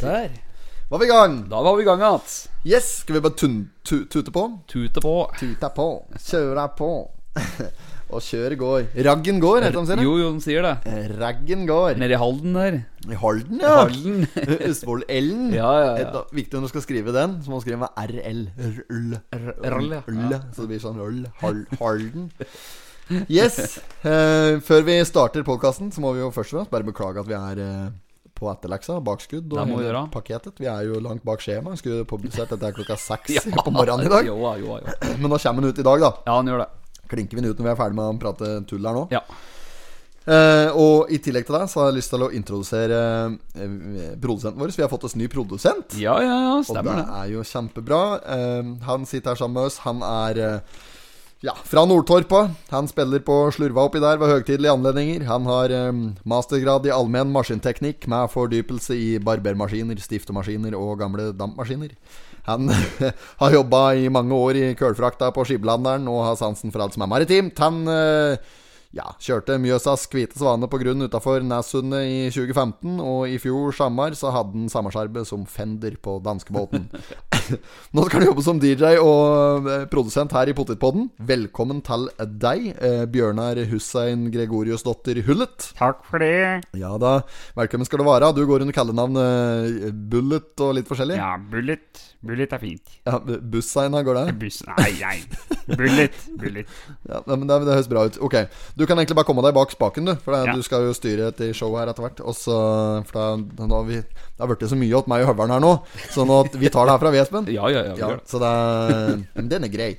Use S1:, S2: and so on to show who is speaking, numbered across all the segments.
S1: Der.
S2: Var vi i gang?
S1: Da var vi i gang igjen.
S2: Yes, skal vi bare tun tu tute på?
S1: Tute på.
S2: Tuta på, kjøra på. og kjøret går. Raggen går, heter han sier det.
S1: Jo, jo, de sier det.
S2: Raggen går.
S1: Nede i Halden der.
S2: I Halden, ja.
S1: Halden.
S2: Østfold-L-en.
S1: Ja, ja, ja.
S2: Et da- Viktig når du skal skrive den, så må du skrive med RL. Røll.
S1: Røll, ja.
S2: Røll. Så det blir sånn røll. Hal Halden. Yes. Eh, før vi starter podkasten, så må vi jo først og fremst bare beklage at vi er eh, på etterleksa. Bakskudd og
S1: Det må vi
S2: hele
S1: gjøre.
S2: pakketet. Vi er jo langt bak skjema. Skulle publisert dette her klokka seks på morgenen i dag.
S1: Jo, jo, jo.
S2: Men nå kommer den ut i dag, da.
S1: Ja, han gjør det.
S2: Klinker vi den ut når vi er ferdig med å prate tull her nå.
S1: Ja.
S2: Eh, og i tillegg til deg så har jeg lyst til å introdusere eh, produsenten vår. Så vi har fått oss ny produsent.
S1: Ja, ja, ja,
S2: Og
S1: stemmer
S2: det
S1: det.
S2: er jo kjempebra. Eh, han sitter her sammen med oss. Han er eh, ja, fra Nordtorpa. Han spiller på slurva oppi der ved høgtidelige anledninger. Han har eh, mastergrad i allmenn maskinteknikk med fordypelse i barbermaskiner, stiftemaskiner og gamle dampmaskiner. Han har jobba i mange år i kølfrakta på Skiblanderen og har sansen for alt som er maritimt. Han eh, ja, kjørte Mjøsas hvite svane på grunn utafor Nessundet i 2015, og i fjor sommer så hadde han samme skjerbe som Fender på danskebåten. Nå skal du jobbe som DJ og eh, produsent her i Potetpodden. Velkommen til deg, eh, Bjørnar Hussein Gregoriusdotter Hullet.
S3: Takk for det.
S2: Ja da, velkommen skal du være. Du går under kallenavnet eh, Bullet og litt forskjellig.
S3: Ja, Bullet. Bullet er fint.
S2: Ja, bu- Bussein, her går det?
S3: Buss Nei, nei. Bullet. Bullet.
S2: Ja, men det, det høres bra ut. Ok, Du kan egentlig bare komme deg bak spaken, du. For det,
S3: Ja.
S2: du skal jo styre et show her etter hvert. Og så, for da, nå har vi, Det har blitt så mye åt meg og Høveren her nå, sånn at vi tar det herfra, vi, Espen.
S1: Ja, ja, ja. vi
S2: Ja,
S1: gjør det.
S2: så det er, men den er grei.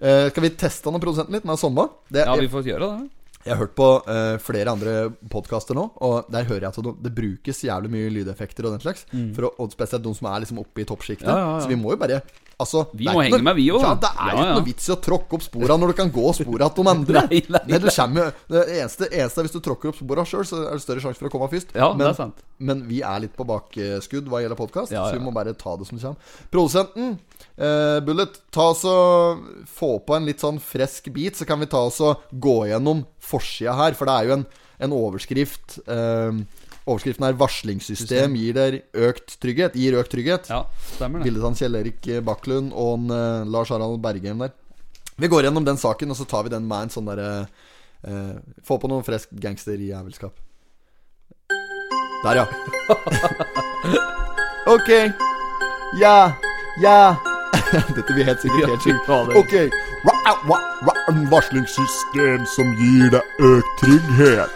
S2: Eh, skal vi teste han og produsenten litt med Somma? Det,
S1: Ja,
S2: jeg,
S1: vi får gjøre det.
S2: jeg har hørt på eh, flere andre podkaster nå, og der hører jeg at det, det brukes jævlig mye lydeffekter og den slags. For å, og spesielt de som er liksom oppe i toppsjiktet.
S1: Mm. Ja, ja, ja.
S2: Så vi må jo bare Altså,
S1: Vi
S2: det er
S1: må
S2: ikke
S1: henge med, vi òg.
S2: ja, det er jo ikke noe vits i å tråkke opp spora når du kan gå spora til de andre.
S1: Nei, nei,
S2: Men du kommer jo Det eneste, eneste er hvis du tråkker opp spora sjøl, så er det større sjanse for å komme først.
S1: Ja, det er
S2: men,
S1: sant.
S2: men vi er litt på bakskudd hva gjelder podkast,
S1: Ja, ja.
S2: så vi må bare ta det som det kommer. Produsenten, eh, Bullet, ta oss og få på en litt sånn fresk bit, så kan vi ta oss og gå gjennom forsida her, for det er jo en, en overskrift. Eh, overskriften er 'Varslingssystem gir deg økt trygghet'. Gir økt trygghet.
S1: Ja, stemmer det.
S2: Bildet av Kjell-Erik Bakklund og en, eh, Lars Harald Bergheim der. Vi går gjennom den saken, og så tar vi den med en sånn derre eh, Få på noe fresk gangsterjævelskap. Der, ja. ok. Ja. Ja. Dette blir helt sikkert helt sjukt. Ok. Ra- ra- ra- en Varslingssystem som gir deg økt trygghet.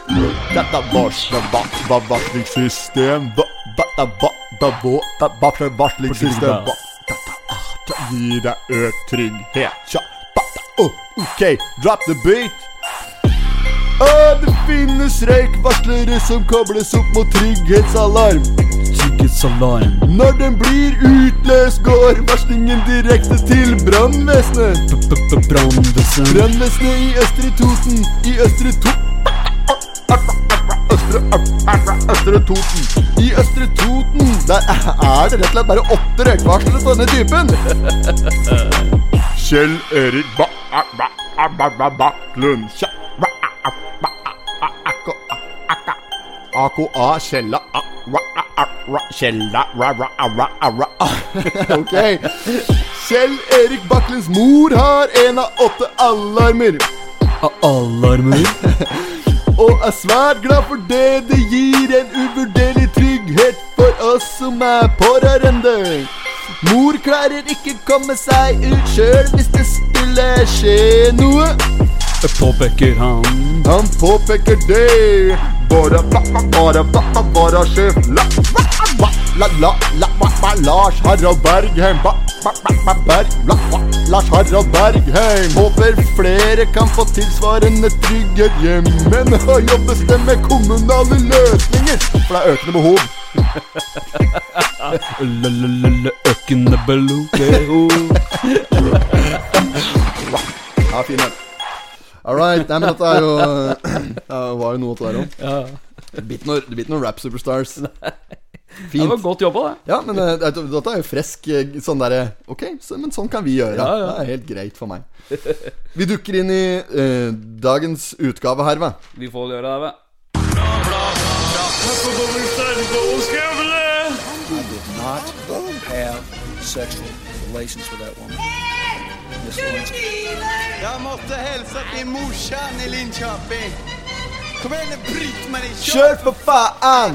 S2: Dette varsler va- va- varslingssystem Va- va- va- va- va- va- va- varsler varslingssystem Va- dette er- det gir deg økt trygghet. Tja, ba- da- oh, Ok, drop the beat. Å, det finnes røykvarslere som kobles opp mot trygghetsalarm.
S1: Trygghetsalarm.
S2: Når den blir utløst, går varslingen direkte til brannvesenet.
S1: Brannvesen.
S2: Brannvesenet i Østre Toten I Østre To... Østre, Østre Toten I Østre Toten Der er det rett og slett bare åtte røykvarsler på denne typen Kjell Erik ba, ba, ba, ba, ba, Baklund Kjell- ba, ba, ba, ba, Ako- Aka- AKA Kjella a, ra, a, a, ra, Kjella ra, ra, a, ra, a, ra, a. Ok Kjell Erik Baklunds mor har en av åtte alarmer
S1: Alarmer.
S2: og er svært glad for det. Det gir en uvurderlig trygghet for oss som er pårørende. Mor klarer ikke komme seg ut sjøl hvis det skulle skje noe.
S1: Påpeker han.
S2: Han påpeker det. Bare, bare, bare, bare, bare sjef. La, la, la, la, la, la, la, la, Lars Harald Bergheim. Ba, ba, ba, ba, berg, la, la, Lars Harald Bergheim. Håper flere kan få tilsvarende trygghet hjemmen. Og jobbes det med kommunale løsninger. For det er økende behov.
S1: Økende bello.
S2: Ja, fin den. All right. Nei, men dette er jo Det var jo noe å ta om.
S1: Ja.
S2: Det blir ikke noe- det blir ikke noen rap superstars.
S1: Det var godt jobba, det.
S2: Ja, men eh, det- dette er jo fresk eh, sånn derre Ok, så, men sånn kan vi gjøre.
S1: Ja, ja.
S2: Det er helt greit for meg. Vi dukker inn i eh, dagens utgave her, hva?
S1: Vi får gjøre det, vet
S4: På dobbeltstein, dobbeltskravle! sexual relations with that woman. Miss Lewinsky.
S5: Jeg måtte hilse til morsan i Linköping. Kom igjen, bryt meg i
S2: Kjør for faen!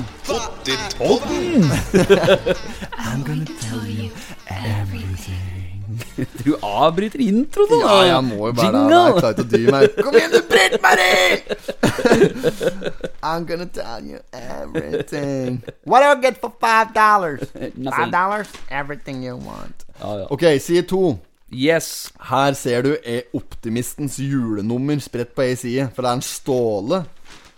S1: Du avbryter introen, da.
S2: Ja, jeg må jo bare det. Jeg klarer ikke å dy meg. Kom igjen, du brett meg i! I'm gonna tell you everything. What do I get for five dollars? Five dollars? Everything you want.
S1: Ja, ja.
S2: Ok, side to.
S1: Yes.
S2: Her ser du er Optimistens julenummer spredt på ei side. For det er en Ståle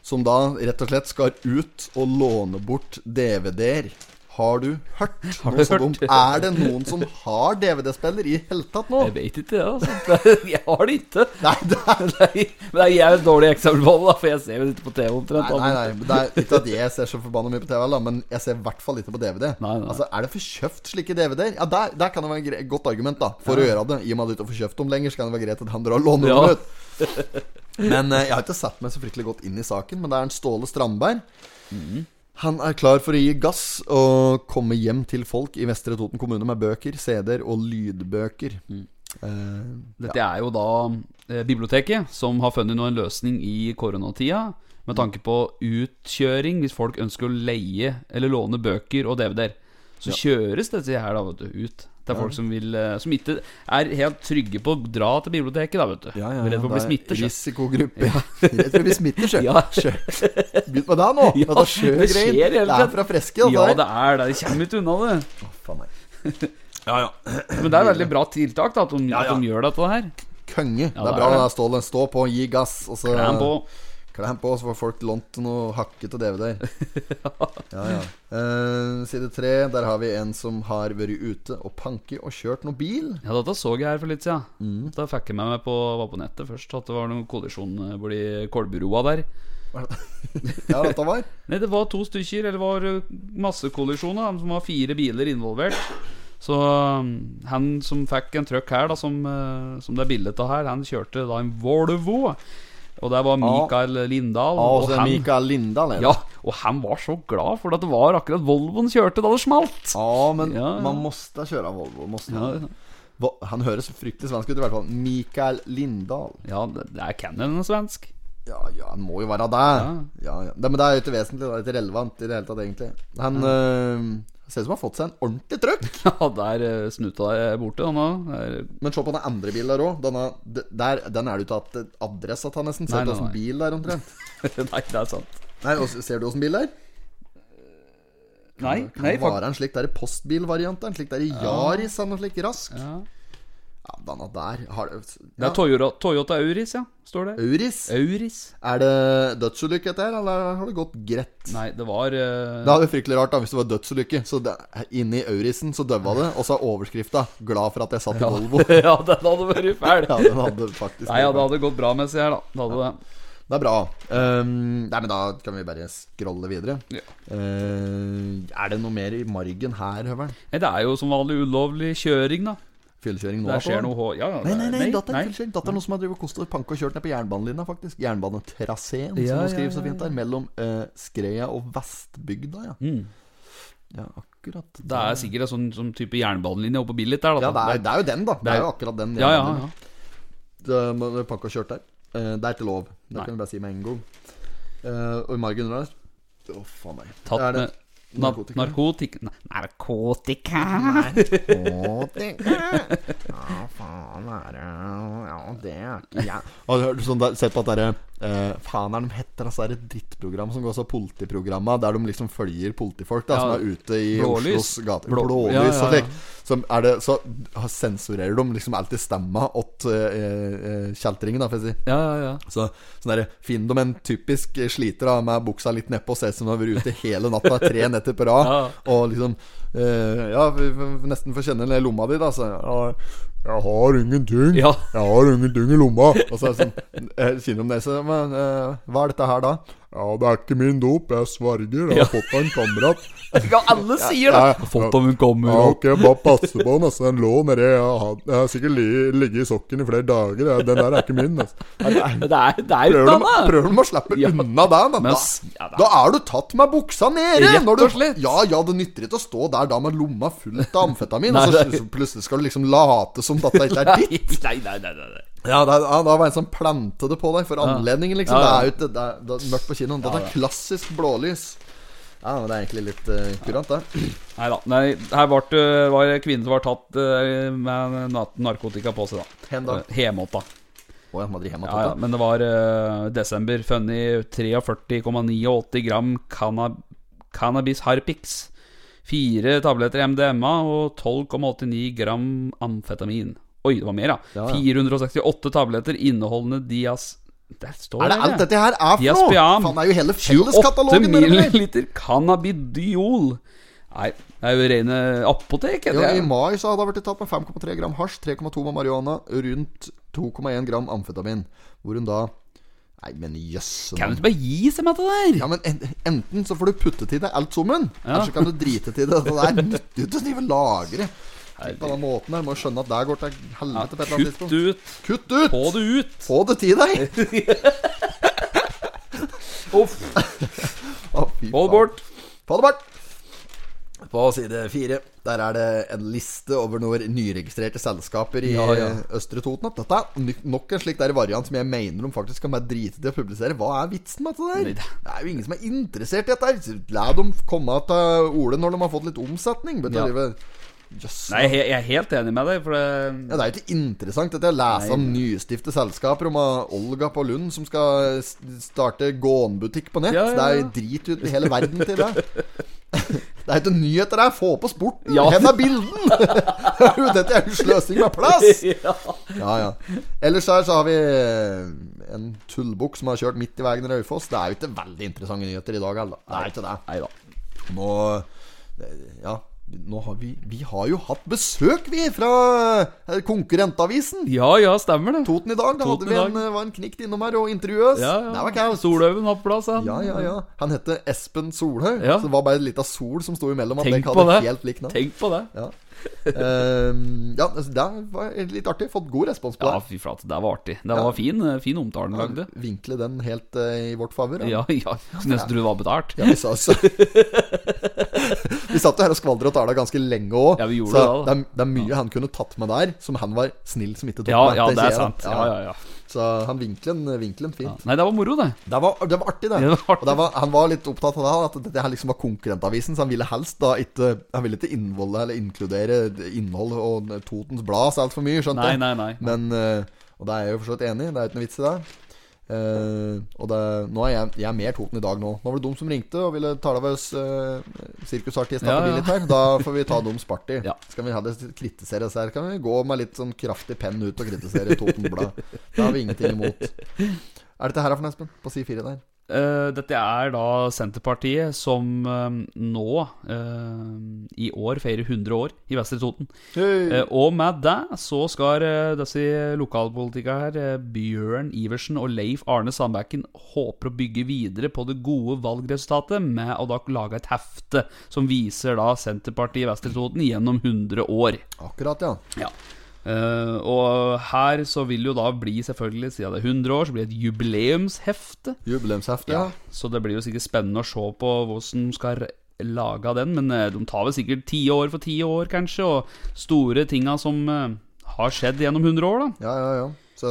S2: som da rett og slett skal ut og låne bort DVD-er. Har du hørt noe så dumt? Er det noen som har DVD-spiller i hele tatt nå?
S1: Jeg vet ikke, jeg. Altså. Jeg har det ikke.
S2: Nei, det er
S1: Nei, Men det er jeg er et dårlig eksempel på det, da, for jeg ser jo ikke på TV omtrent.
S2: Nei, nei, nei. men Det er ikke at jeg ser så forbanna mye på TV, da, men jeg ser i hvert fall ikke på DVD.
S1: Nei, nei.
S2: Altså, Er det for kjøpt slike DVD-er? Ja, der, der kan det være et gre- godt argument da for å gjøre det. I og med at du ikke får kjøpt dem lenger, så kan det være greit at han drar og låner
S1: Ja.
S2: dem ut. Men eh, jeg har ikke satt meg så fryktelig godt inn i saken, men det er en Ståle Strandberg.
S1: Mhm.
S2: Han er klar for å gi gass og komme hjem til folk i Vestre Toten kommune med bøker, CD-er og lydbøker.
S1: Mm.
S2: Eh,
S1: Dette er jo da eh, biblioteket som har funnet nå en løsning i koronatida. Med tanke på utkjøring, hvis folk ønsker å leie eller låne bøker og DVD-er. Så kjøres dette her da, vet du, ut. Det er folk som, vil, eh, som ikke er helt trygge på å dra til biblioteket, da, vet du.
S2: ja, ja,
S1: Redd for å
S2: det
S1: bli
S2: er
S1: smittet. sjø.
S2: Risikogruppe. Ja. Redd for å bli smittet, sjø.
S1: Ja.
S2: Begynn med det nå!
S1: Ja,
S2: det, skjer
S1: det
S2: greier.
S1: skjer i hele
S2: det er
S1: tatt.
S2: fra freske, altså,
S1: Ja,
S2: det
S1: det er det. De kommer ikke unna det.
S2: der. Faen meg.
S1: Men det er veldig bra tiltak da at de, At de gjør dette her.
S2: Konge. det
S1: det
S2: er
S1: er
S2: bra
S1: det.
S2: det der, Ståle. Stå på, gi gass, og så
S1: Klem på.
S2: Klem på, så får folk lånt noe hakkete DVD-er. ja, ja. Eh, side tre, der har vi en som har vært ute og panket og kjørt noe bil.
S1: Ja, dette så jeg her for litt siden. Da fikk jeg med meg på, var på nettet først at det var noen kollisjon eh, borti Kolburoa der.
S2: Ja, dette var
S1: Nei, det var to stykker, eller det var eh, massekollisjoner. da, som var fire biler involvert. Så um, han som fikk en trøkk her, da, som, eh, som det er bildet av her, han kjørte da en Volvo. Og der var Mikael Lindahl.
S2: ah,
S1: og
S2: også
S1: han,
S2: Mikael Lindahl. er det?
S1: ja, og han var så glad for at det var akkurat Volvoen kjørte da det smalt.
S2: Ja, men
S1: Ja, ja.
S2: man måste kjøre Volvo. Måste
S1: Ja, ja.
S2: Vo- Han høres fryktelig svensk ut, i hvert fall. Mikael Lindahl.
S1: Ja, det, det er Canyon svensk.
S2: Ja, ja, han må jo være der. Ja. Ja, Nei, Men det er jo ikke vesentlig. Det er ikke relevant i det hele tatt, egentlig. Han øh, ser ut som han har fått seg en ordentlig trøkk.
S1: Ja, der eh, snuta jeg borte, han òg. Der
S2: Men se på den andre bilen der òg. Den er det jo ikke at adresse til, nesten.
S1: Nei,
S2: Ser
S1: nei,
S2: du
S1: nei.
S2: åssen bil det er, omtrent?
S1: Nei, det er sant.
S2: Nei, og s- Ser du åssen bil det er?
S1: Nei,
S2: Kan det være en slik der postbilvariant? En slik der Yaris eller noe slik rask? Ja,
S1: Ja.
S2: denne der har det
S1: Det er
S2: ja.
S1: Eh. Toyota, Toyota Auris, ja. Står det.
S2: Auris?
S1: Auris?
S2: Er det dødsulykke dette her, eller har det gått greit?
S1: Nei, det var eh,
S2: Det hadde vært fryktelig rart da hvis det var dødsulykke. Så det, inni Aurisen så døva det, og så er overskrifta 'Glad for at jeg satt i Volvo'.
S1: Ja, den hadde vært fæl.
S2: Ja, den hadde faktisk
S1: Nei, ja, det hadde gått bra med seg her, da. Det hadde det.
S2: Det er bra. Ehm, nei, men da kan vi bare scrolle videre.
S1: Ja.
S2: Ehm, er det noe mer i margen her, Høveren?
S1: Nei, det er jo som vanlig ulovlig kjøring, da.
S2: Fyllekjøring nå?
S1: Der
S2: altså?
S1: skjer noe hå- Ja, ja,
S2: Nei, nei, nei,
S1: det-
S2: datter, nei. datter er noen som har drevet og kost og panke og kjørt ned på jernbanelinja, faktisk. Jernbanetraseen, som
S1: Ja,
S2: hun
S1: ja,
S2: skriver så
S1: ja,
S2: fint der. Mellom eh, Skreia og Vestbygda, ja.
S1: Mm.
S2: Ja, akkurat.
S1: Det er sikkert en sånn, sånn type jernbanelinje oppe på Billit der, da.
S2: Ja, det er, det er jo den, da. Det
S1: er-
S2: er jo akkurat den.
S1: ja, ja,
S2: jernbanelinja.
S1: ja.
S2: Det- man- det er Pakka kjørt der. Eh, Det er ikke lov. Det
S1: Nei.
S2: kan jeg bare si med en gang. Eh, og i margen under der Å, faen meg.
S1: Tatt
S2: Er
S1: med
S2: det
S1: na
S2: narkotika?
S1: narkotika Nei,
S3: Narkotika.
S2: Å, det-
S3: Hva faen er det Ja, det er ikke
S2: Ja. Har du hørt sånn der, sett på at derre eh, Faen er de heter altså, det er et drittprogram som går så politiprogramma, der de liksom følger politifolk da,
S1: Ja.
S2: som er ute i
S1: Blålys.
S2: Oslos gater.
S1: Blå-
S2: Blålys
S1: Ja, ja,
S2: og
S1: ja.
S2: slik. Som er det, så har- sensurerer de liksom alltid stemma åt eh, eh, kjeltringen, da, får jeg si.
S1: Ja, ja, ja.
S2: Så sånn der, Finn dem en typisk sliter da, med buksa litt nedpå og ser ut som de har vært ute hele natta, tre netter på rad.
S1: Ja.
S2: Og liksom eh, Ja, vi, vi, vi nesten får kjenne den lomma di, da. Så, ja, Jeg har ingenting.
S1: Ja.
S2: Jeg har ingenting i lomma. Og så er det sånn eh, Kinn om nesa. Men eh, hva er dette her, da? Ja, det er ikke min dop. Jeg sverger. Jeg har fått av en kamerat.
S1: Ja, alle sier det!
S2: Ja, ja.
S1: Fått om hun kommer
S2: Ja,
S1: og
S2: ok, bare passe på den. Altså. Den lå nedi. Jeg har, hatt- jeg har sikkert li, ligget i sokken i flere dager. jeg. Den der er ikke min. Altså. Nei, nei,
S1: Men Det er, det er
S2: Prøver de,
S1: utdanna!
S2: prøver de å slippe
S1: Ja.
S2: unna deg, men
S1: Men
S2: da,
S1: s- ja, da-
S2: da er du tatt med buksa nede!
S1: Rett
S2: når du-
S1: og slett.
S2: Ja, ja, det nytter ikke å stå der da med lomma fullt av amfetamin,
S1: Nei,
S2: og så
S1: det er-
S2: plutselig skal du liksom late som dette ikke er ditt.
S1: Nei, nei, nei, nei, nei.
S2: Ja, det, ja, da var en som plante det på deg for anledningen, liksom.
S1: Ja, ja.
S2: Det er jo ikke- det er, det er mørkt på kinoen. Dette er klassisk blålys. Ja, men det er egentlig litt eh, kurant, det.
S1: Neida, Nei her var det var det kvinnen som var tatt eh, med nat- narkotika på seg, da.
S2: Hen da?
S1: Eh, Hemåtta.
S2: Å, jeg må drive hjemme
S1: Ja, ja, men det var eh, desember. Funnet 43,89 gram canna- cannabis harpix. Fire tabletter MDMA og 12,89 gram amfetamin. Oi, det var mer, ja.
S2: Ja, ja.
S1: 468 tabletter inneholdende dias... Der står
S2: Er det
S1: det,
S2: alt dette her er for noe?
S1: Diaspiam.
S2: Faen, det er jo hele
S1: 28
S2: felleskatalogen dere driver med.
S1: milliliter cannabidiol. Nei, det er jo rene apotek.
S2: Jo,
S1: heter det.
S2: I mai så hadde jeg vært tatt med 5,3 gram hasj, 3,2 med marihuana, rundt 2,1 gram amfetamin. Hvor hun da Nei, men jøsse
S1: Kan du ikke
S2: navn.
S1: bare gi seg med det der?
S2: Ja, men en, enten så får du putte til deg alt sammen,
S1: Ja.
S2: eller så kan du drite til det. Det der nytter jo ikke å drive og lagre. Tenk på den måten der. Må jo skjønne at det går til helvete på et eller annet
S1: Kutt
S2: tidspunkt.
S1: ut.
S2: Kutt ut!
S1: Få det ut.
S2: Få det til deg!
S1: Uff.
S2: Å,
S1: Få
S2: fy faen.
S1: det bort.
S2: Få det bort! På side fire der er det en liste over noen nyregistrerte selskaper i
S1: Ja, ja.
S2: eh, Østre Toten. At dette er ny- nok en slik der variant som jeg mener de faktisk kan bare drite til å publisere. Hva er vitsen med
S1: Nei,
S2: dette der?
S1: det-
S2: Det er jo ingen som er interessert i dette. her La dem komme til Ole når de har fått litt omsetning. Vet du,
S1: Ja.
S2: drive- Jøss.
S1: Nei, jeg, jeg er helt enig med deg, for det
S2: Ja, det er jo ikke interessant dette å lese om nystifte selskaper, om ah, Olga på Lund som skal s- starte gåenbutikk på nett.
S1: Ja, ja, ja.
S2: Det er jo drit ut i hele verden til det. Det er jo ikke nyheter her. Få på sporten!
S1: Ja.
S2: Hen er bilden! Er du, dette er jo sløsing med plass! Ja, ja. Ellers her så har vi eh, en tullbukk som har kjørt midt i veien i Raufoss. Det er jo ikke veldig interessante nyheter i dag heller. Det er ikke det.
S1: Nei da.
S2: Nå eh, Ja, nå har vi Vi har jo hatt besøk, vi, fra eh, konkurrentavisen.
S1: Ja ja, stemmer det.
S2: Toten i dag. Da
S1: Toten
S2: hadde vi
S1: i
S2: en, eh, var en knikt innom her og intervjuet oss.
S1: Ja,
S2: Det var
S1: ja.
S2: kaos.
S1: Soløven har på plass, han.
S2: Ja, ja, ja. Han hette Espen Solhaug.
S1: Ja.
S2: Så det var bare litt av sol som sto imellom. At
S1: Tenk
S2: dere
S1: på
S2: hadde
S1: det.
S2: helt lik navn.
S1: Tenk på det.
S2: Ja. Ehm, ja, altså, det var litt artig. Fått god respons på
S1: Ja,
S2: det.
S1: fy flate, det var artig. Det var fin, eh, fin omtale han lagde.
S2: Vinkle den helt eh, i vårt favør.
S1: Ja, ja. Skulle nesten tro det var betalt.
S2: Ja, vi sa så. Vi satt jo her og skvaldra og tala ganske lenge òg.
S1: Ja, vi gjorde
S2: så
S1: det da, da.
S2: er, det er mye han kunne tatt med der, som han var snill som ikke tok
S1: Ja,
S2: med.
S1: ja,
S2: Det
S1: det
S2: sier
S1: er
S2: jeg, da.
S1: sant. Ja, ja, ja.
S2: Så han vinkelen, vinkelen fint.
S1: Nei, det var moro, det.
S2: Det, var, det var artig, det.
S1: Det var artig.
S2: Og det var, han var litt opptatt av det, at dette her liksom var konkurrentavisen, så han ville helst da ikke Han ville ikke innvolde, eller inkludere innhold og Totens Blad så altfor mye, skjønte
S1: Nei,
S2: jeg.
S1: nei, nei.
S2: Men eh, Og det er jeg jo forstått enig i. Det er ikke noe vits i det. Eh, og det, nå er jeg, jeg er mer Toten i dag nå. Nå var det de som ringte og ville tale med oss uh, sirkusartistene
S1: Ja, ja.
S2: på Billit her. Da får vi ta dems party.
S1: Ja.
S2: Skal vi ha det kritisere oss her? Kan vi gå med litt sånn kraftig penn ut og kritisere Toten Blad? Det har vi ingenting imot. Er dette her for noe, Espen? På side fire der.
S1: Eh, dette er da Senterpartiet som eh, nå, eh, i år, feirer 100 år i Vestre Toten. Eh, og med det så skal eh, disse lokalpolitikere her, eh, Bjørn Iversen og Leif Arne Sandbekken, håper å bygge videre på det gode valgresultatet med å da lage et hefte som viser da Senterpartiet i Vestre Toten gjennom 100 år.
S2: Akkurat, ja.
S1: Ja. Eh, og her så vil jo da bli selvfølgelig, siden det er 100 år, så blir det et jubileumshefte.
S2: Jubileumshefte, ja.
S1: Så det blir jo sikkert spennende å se på hvordan de skal lage den. Men eh, de tar vel sikkert ti år for ti år, kanskje. Og store tinga som eh, har skjedd gjennom 100 år, da.
S2: Ja, ja, ja. Så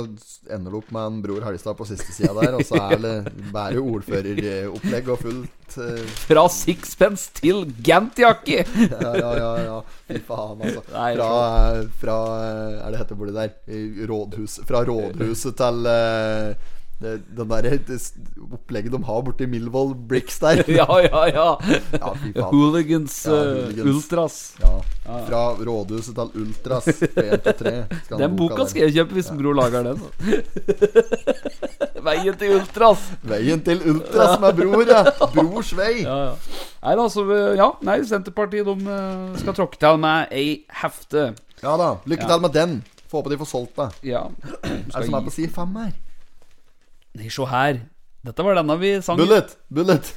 S2: ender du opp med en Bror Helgestad på siste sida der, og så er det bare ordføreropplegg og fullt eh,
S1: Fra sixpence til Gant-jakke!
S2: ja, ja, ja, ja. Fy faen, altså.
S1: Nei,
S2: Fra, fra eh, Er det hette bordet der? I Rådhus, fra rådhuset til eh, det, den der eh, det s- opplegget de har borti Milvold Bricks der.
S1: ja, ja, ja.
S2: Ja, fy faen.
S1: Hooligans,
S2: Ja,
S1: eh,
S2: hooligans.
S1: ultras.
S2: Ja. Fra rådhuset til Ultras. Én til tre. Skal
S1: Den boka skal jeg kjøpe hvis Bror lager den. altså. Veien til ultras.
S2: Veien til Ultras med bror, ja. Brors vei.
S1: Ja, ja. Nei da, så eh, Ja, nei, Senterpartiet de eh, skal tråkke til med ei hefte.
S2: Ja da. Lykke til med den. Få håpe de får solgt det.
S1: Ja.
S2: Er det som er på side fem her?
S1: Nei, se her. Dette var denne vi sang.
S2: Bullet! Bullet!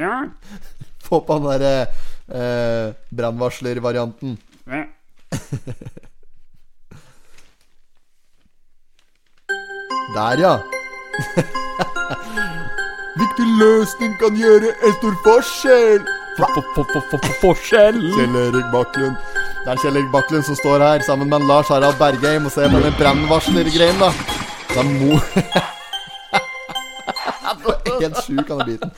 S1: Ja.
S2: Få på den derre eh, brannvarslervarianten.
S1: Ja.
S2: Der, ja. Viktig løsning kan gjøre en stor forskjell.
S1: Forskjell!
S2: Kjell Erik Bakklund. Det er Kjell Erik Bakklund som står her sammen med Lars Harald Bergheim og ser på den brannvarslergreien, da. Det er mo... Helt sjuk, han er biten.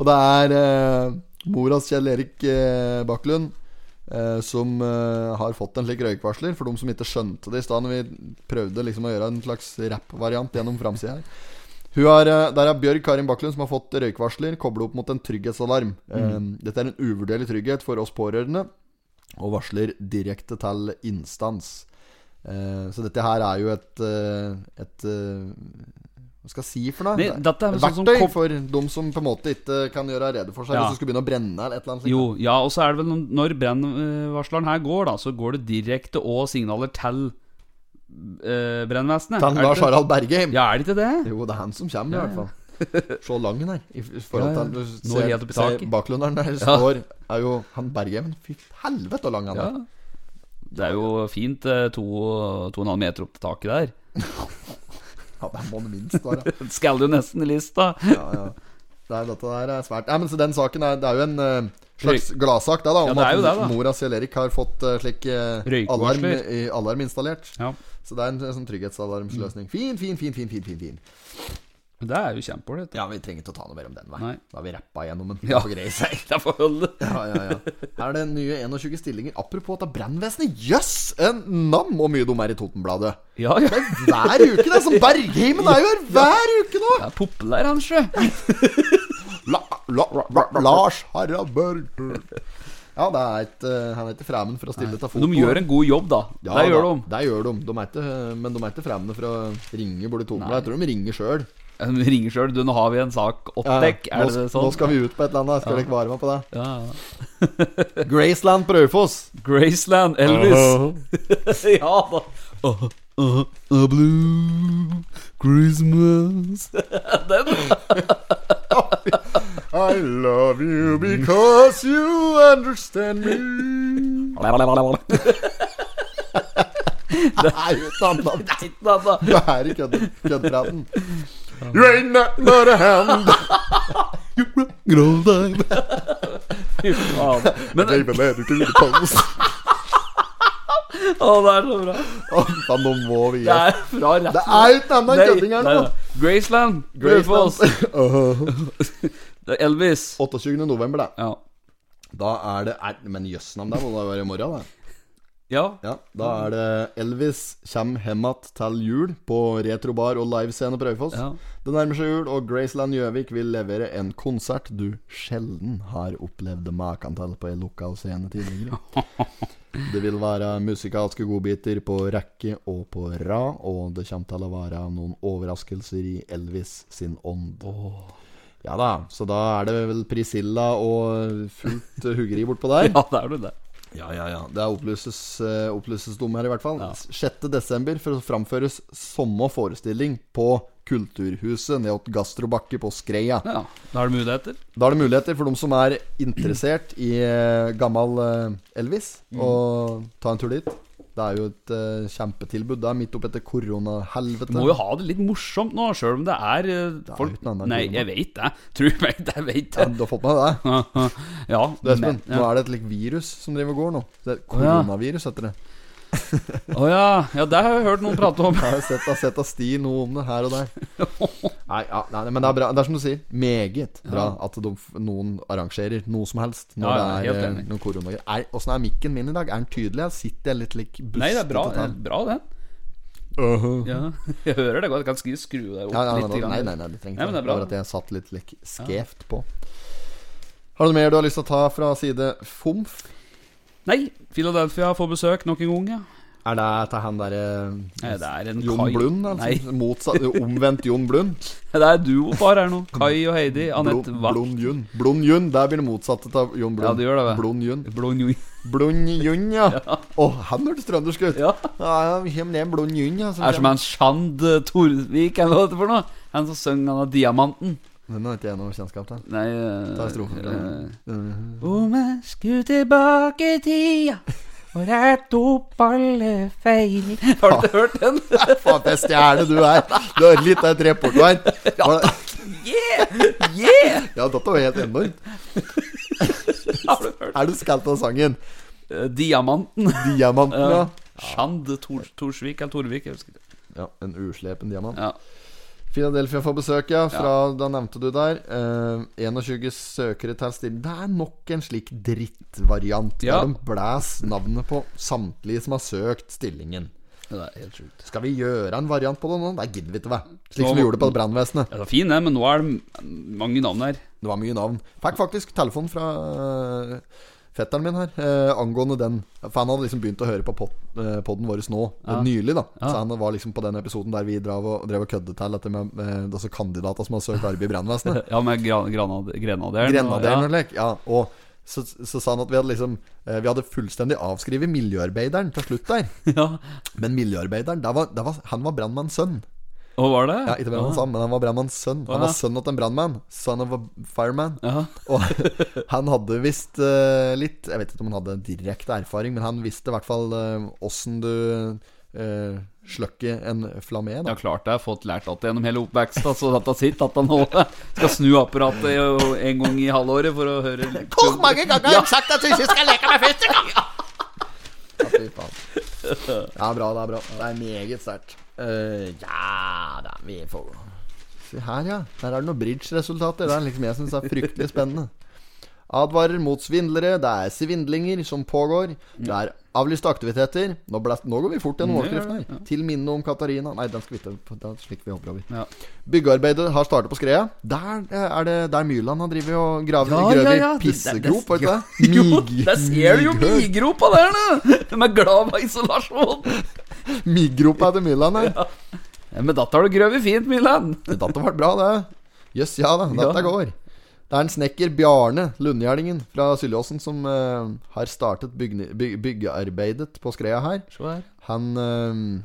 S2: Og det er eh, moras Kjell Erik eh, Bakklund eh, som eh, har fått en slik røykvarsler. For de som ikke skjønte det i stad, når vi prøvde liksom å gjøre en slags rappvariant gjennom framsida her. Hun har, eh, der er Bjørg Karin Bakklund som har fått røykvarsler koblet opp mot en trygghetsalarm. Eh, Dette er en uvurderlig trygghet for oss pårørende, og varsler direkte til instans. Eh, Så dette her er jo et eh, Et eh, Hva skal jeg si for noe?
S1: Nei, dette er
S2: Et
S1: vel sånn som
S2: Verktøy
S1: kom-
S2: for de som på en måte ikke kan gjøre rede for seg
S1: Ja.
S2: hvis du skulle begynne å brenne eller et eller annet. slikt.
S1: Jo, ja, og så er det vel noen- Når brennvarsleren her går, da så går det direkte og signaler til eh, brennvesenet.
S2: Til
S1: Er
S2: Lars
S1: det-
S2: Harald Bergheim.
S1: Ja, er det ikke det?
S2: Jo, det er han som kommer, i hvert fall. Se lang han er. I f-
S1: Ja,
S2: forhold
S1: ja.
S2: til du
S1: Når
S2: ser-
S1: helt opp i
S2: ser
S1: taket.
S2: Baklunderen der står Er jo han Bergheimen. Fy helvete, så lang han er.
S1: Ja. Det er jo fint eh, to, to og en halv meter opp til taket der.
S2: Ja, det må det minst være.
S1: Det skal jo nesten i lista.
S2: Ja, ja. Det er, dette der er svært Nei, men så Den saken er, det er jo en eh, slags gladsak, det, da.
S1: Ja,
S2: Om
S1: det er jo
S2: at
S1: det, da.
S2: mora til Erik har fått eh, slik eh, alarm,
S1: Røykvarsler.
S2: i, alarm installert.
S1: Ja, Mm.
S2: Så det er en, eh, sånn trygghetsalarmsløsning. Fin, fin, fin, fin, fin, fin, fin.
S1: Det er jo kjempeålreit.
S2: Ja, vi trenger ikke å ta noe mer om den,
S1: Nei.
S2: nei. Da har vi rappa gjennom den.
S1: Ja.
S2: Det får greie seg.
S1: Det er for holde.
S2: Ja, ja, ja. Er det nye 21 stillinger? Apropos at det er brannvesenet. Jøss! en nam hvor mye de er i Totenbladet.
S1: Ja, ja. Det
S2: Hver uke, det! er Som Bergheimen er jo her hver uke nå!
S1: er populær, han, sjø.
S2: La, la, la, Lars Harald Børg. Ja, det er et, eh, han er ikke fremmed for å stille til foto.
S1: De gjør en god jobb, da.
S2: ja,
S1: det gjør
S2: da,
S1: de.
S2: Det gjør de. de er ikke, men de er ikke fremmede for å ringe borti Totenbladet. Jeg tror de ringer sjøl.
S1: De ringer sjøl. Du, nå har vi en sak. Oppdekk.
S2: nå,
S1: Er det
S2: nå
S1: sånn?
S2: skal vi ut på et eller annet. Skal dere ikke være med på det?
S1: Ja, ja.
S2: Graceland på Raufoss.
S1: Graceland, Elvis. ja da. Uh, uh, uh, blue Christmas
S2: I love you because you understand me.
S1: Nei,
S2: Nei, uten annet.
S1: da, da.
S2: Det er i kødd- køddpraten. You ain't nothing but a hand.
S1: Fy faen. Men
S2: Baby, lady, to the post.
S1: Å, det er så bra.
S2: Å, faen, nå må vi gi
S1: Det
S2: oss.
S1: er fra rett
S2: Det er uten annet kødding her nå.
S1: nei, nei. Graceland,
S2: Graceland.
S1: Raufoss. Det er Elvis.
S2: 28. november, da.
S1: Ja.
S2: Da er det er, Men jøssnavn, det må da være i morgen, da.
S1: ja.
S2: Ja, da er det Elvis kjem hjem att til jul på retrobar og livescene på Raufoss.
S1: Ja.
S2: Det nærmer seg jul, og Graceland Gjøvik vil levere en konsert du sjelden har opplevd maken til på en lokal scene tidligere. Det vil være musikalske godbiter på rekke og på rad, og det kommer til å være noen overraskelser i Elvis sin ånd. Ja da, så da er det vel Priscilla og fullt huggeri bortpå der.
S1: ja, det er du det.
S2: Ja, ja, ja. Det er opplyses, eh, opplyses dumme her, i hvert fall. 6. desember for å framføres samme forestilling på Kulturhuset nede ved Gastrobakke på Skreia.
S1: Ja, Da har du muligheter.
S2: Da er det muligheter for dem som er interessert i eh, gammel eh, Elvis,
S1: Mm.
S2: å ta en tur dit. Det er jo et eh, kjempetilbud. Det er midt oppetter koronahelvete.
S1: Du må jo ha det litt morsomt nå, sjøl om det er eh,
S2: er
S1: folk
S2: uten annet
S1: Nei,
S2: grunn, da.
S1: jeg veit det. Tror meg, jeg veit
S2: ja,
S1: det.
S2: du har fått med deg det?
S1: Ja,
S2: Du, Espen,
S1: men- ja.
S2: nå er det et like, virus som driver og går nå. Det
S1: Å,
S2: er
S1: ja.
S2: koronavirus, heter det.
S1: Å ja. ja, det har jeg hørt noen prate om.
S2: Jeg har sett, jeg har sett av Sti noe om det her og der. Nei, ja, nei, men det er bra. Det er som du sier, meget bra at de, f- noen arrangerer noe som helst når
S1: Ja, ja,
S2: det
S1: helt
S2: er eh,
S1: enig.
S2: noen koronagreier. Er- Åssen er mikken min i dag? Er den tydelig? Jeg sitter jeg litt lik bustete?
S1: Nei, det er bra, det er
S2: til den?
S1: bra den. Ja. Jeg hører det godt. Jeg kan skri- skru deg opp
S2: Ja, ja,
S1: litt.
S2: nei,
S1: grann.
S2: nei, nei, nei, du trenger
S1: Nei,
S2: ikke
S1: men det
S2: det. Det
S1: er
S2: var
S1: bra.
S2: at jeg satt litt lik skjevt på. Har du noe mer du har lyst til å ta fra side FOMF?
S1: Nei, Philadelphia får besøk nok en gang. Ja.
S2: Er det til han derre eh,
S1: Nei, Det er en
S2: Jon
S1: Kai
S2: Blund? Altså,
S1: Nei,
S2: motsatt, omvendt Jon Blund?
S1: det er duopar her nå. Kai og Heidi. Anette
S2: Blund-
S1: Wack.
S2: Blund Jun. Blund Jun, der blir det motsatte av Jon Blund.
S1: Ja, det gjør det, vel.
S2: Blund Jun.
S1: Blond jo-
S2: Blund Jun, ja. Å, han hørtes trøndersk ut.
S1: Ja.
S2: Ja, kjem det en Blund Jun, ja.
S1: Er som han Sjand eh, Torvik, eller hva det er for noe? Han som sang han av Diamanten.
S2: Den har ikke jeg noe kjennskap til.
S1: Nei eh,
S2: Ta strofen.
S1: eh,
S2: Mm.
S1: Om jeg skulle tilbake i tida og rette opp alle feil Har du ikke hørt den?
S2: Faen, for en stjerne du er. Du har litt av et repertoar. Var det-
S1: Yeah! yeah!
S2: Ja, dette var helt enormt.
S1: Har du hørt
S2: Er du skalt av sangen?
S1: Eh, Diamanten.
S2: Diamanten, ja.
S1: Sjand Tor, Torsvik eller Torvik, jeg husker ikke.
S2: ja. En uslepen diamant.
S1: Ja.
S2: Philadelphia får besøk, ja. Fra, Da nevnte du der. Eh, 21 søkere til stilling. Det er nok en slik drittvariant.
S1: Ja.
S2: Der de blæs navnet på samtlige som har søkt stillingen.
S1: Det er helt sjukt.
S2: Skal vi gjøre en variant på det nå? Det gidder vi ikke, hva. Slik
S1: Nå
S2: som vi
S1: må-
S2: gjorde på brannvesenet.
S1: Ja, det er fin, det, men nå er det m- mange navn her.
S2: Det var mye navn. Fikk faktisk telefon fra eh, fetteren min her eh, angående den. For han hadde liksom begynt å høre på pod, poden vår nå, eh, nylig, da. Så han var liksom på den episoden der vi drev og, drev og kødde til dette med uh, altså kandidater som har søkt arbeid i brannvesenet.
S1: Ja, med gran, granad, Grenaderen.
S2: Grenaderen
S1: og-
S2: og lek. Ja, og så, så sa han at vi hadde liksom eh, Vi hadde fullstendig avskrevet miljøarbeideren til slutt der.
S1: Ja. ja.
S2: Men miljøarbeideren, der var, der var, han var brannmanns sønn.
S1: Og var det?
S2: Ja, ikke brannmanns sønn, men han var brannmanns sønn. Han
S1: Ja.
S2: var sønn til en brannmann. Son of a fireman.
S1: Ja.
S2: Og han hadde visst eh, litt Jeg vet ikke om han hadde direkte erfaring, men han visste i hvert fall eh, åssen du uh, sløkker en flammé.
S1: Ja,
S2: Da.
S1: klart det. Jeg har fått lært alt gjennom hele oppveksten. Altså, dette sitt, at han nå skal snu apparatet i- en gang i halvåret for å høre
S2: Hvor mange ganger har jeg sagt at du ikke skal leke med første gang?! Ja, fy faen. Det er bra, det er bra. Det er meget sterkt. Eh, ja da, vi får gå. Se her, ja. Der er det noen bridge-resultater. Det er liksom jeg syns er fryktelig spennende. Advarer mot svindlere. Det er svindlinger som pågår. Det er avlyste aktiviteter. Nå, ble, nå går vi fort gjennom
S1: Ja, ja,
S2: overskriften her. Til minne om Katarina Nei, den skal vi ikke Den slik vi hopper over.
S1: Ja.
S2: Byggearbeidet har startet på skreia. Der eh, er det der Myrland har drevet og gravet
S1: Ja,
S2: grøv
S1: ja,
S2: i
S1: ja, det- det-
S2: pissegrop, var
S1: det-
S2: ikke det?
S1: Jo,
S2: Mig-
S1: der ser du jo
S2: migrop.
S1: migropa der, da! De er glad i isolasjon.
S2: Migropa til Myrland her.
S1: Ja, men dette har du grøvet fint, Milan.
S2: Dette ble bra, det. Jøss, ja da. Dette
S1: Ja.
S2: går. Det er en snekker, Bjarne Lundgjerdingen fra Syljåsen, som eh, har startet bygne, byg, byggearbeidet på skreia her.
S1: Se her.
S2: Han eh,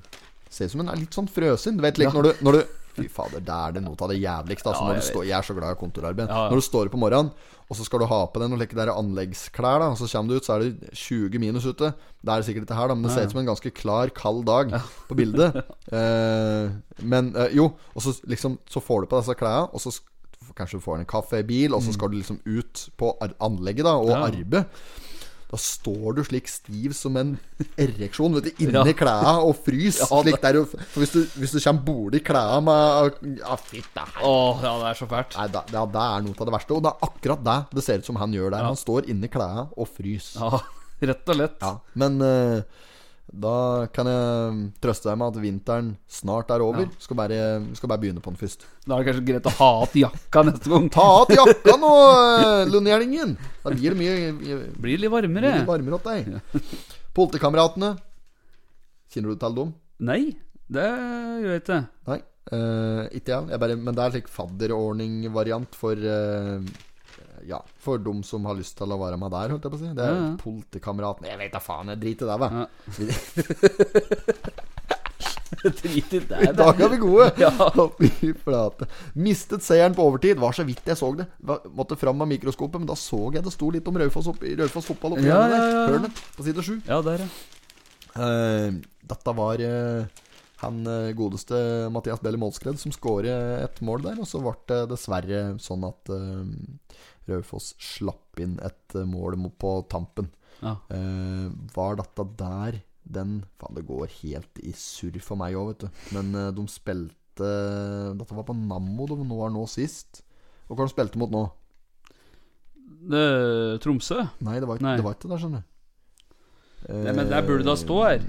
S2: ser ut som han er litt sånn frøsen. Du vet, like, når, du, når du Fy fader, det er det noe av det jævligste. Altså,
S1: Ja,
S2: når
S1: jeg
S2: du
S1: vet.
S2: står, jeg er så glad i kontorarbeid.
S1: Ja, ja.
S2: Når du står opp om morgenen, og så skal du ha på deg noen like, der anleggsklær, da, og så kommer du ut, så er det 20 minus ute. Det er det sikkert ikke her, da, men det ser ut som en ganske klar, kald dag på bildet. Eh, men eh, jo, og så liksom Så får du på disse klærne, og så sk- Kanskje du får en kaffe i bil, og så skal du liksom ut på ar anlegget da og
S1: Mm. Ja.
S2: arbeid. Da står du slik stiv som en ereksjon vet du, inni klærne og frys. slik der, og- for hvis, du, hvis du kommer borti klærne med ah, Ja, fytti
S1: Å, ja, det er så fælt.
S2: Nei, da, ja, det er noe av det verste. Og det er akkurat det det ser ut som han gjør der. Han står inni klærne og fryser.
S1: Ja, rett og lett.
S2: Ja, men eh, da kan jeg trøste deg med at vinteren snart er over. Skal, bare, skal bare begynne på den først.
S1: Da er det kanskje greit å ha att jakka neste gang.
S2: Ta av deg jakka nå, eh, Lundgjerdingen! Da blir det mye
S1: Blir litt varmere.
S2: blir det varmere åt deg. Politikameratene. Kjenner du til dem?
S1: Nei, det gjør jeg ikke.
S2: Nei. eh, ikke jeg. jeg bare, men det er en slik fadderordning-variant for eh, Ja, for dem som har lyst til å være med der, holdt jeg på å si. Det er
S1: Ja, ja.
S2: politikameratene. Jeg vet da faen, jeg driter i det, hva.
S1: Ja. Drit i det.
S2: I dag er vi gode!
S1: Ja.
S2: Å, Fy flate. Mistet seieren på overtid. Var så vidt jeg så det. Var, måtte fram med mikroskopet, men da så jeg det sto litt om Raufoss opp- Raufoss fotball oppi
S1: Ja,
S2: hjørnet der.
S1: ja, ja, ja.
S2: Hørnet, på side sju.
S1: Ja, der, ja.
S2: Eh, dette var eh, han eh, godeste Mathias Belli Målskred som skåret et mål der. Og så ble det dessverre sånn at eh, Raufoss slapp inn et eh, mål mo- på tampen.
S1: Ja.
S2: Eh, var dette der den Faen, det går helt i surr for meg òg, vet du. Men eh, de spilte Dette var på Nammo de nå var nå sist. Og hva de spilte mot nå?
S1: Det, Tromsø?
S2: Nei, det var, ikke-
S1: Nei.
S2: Det var ikke der, skjønner du.
S1: Nei, men der burde det stå her.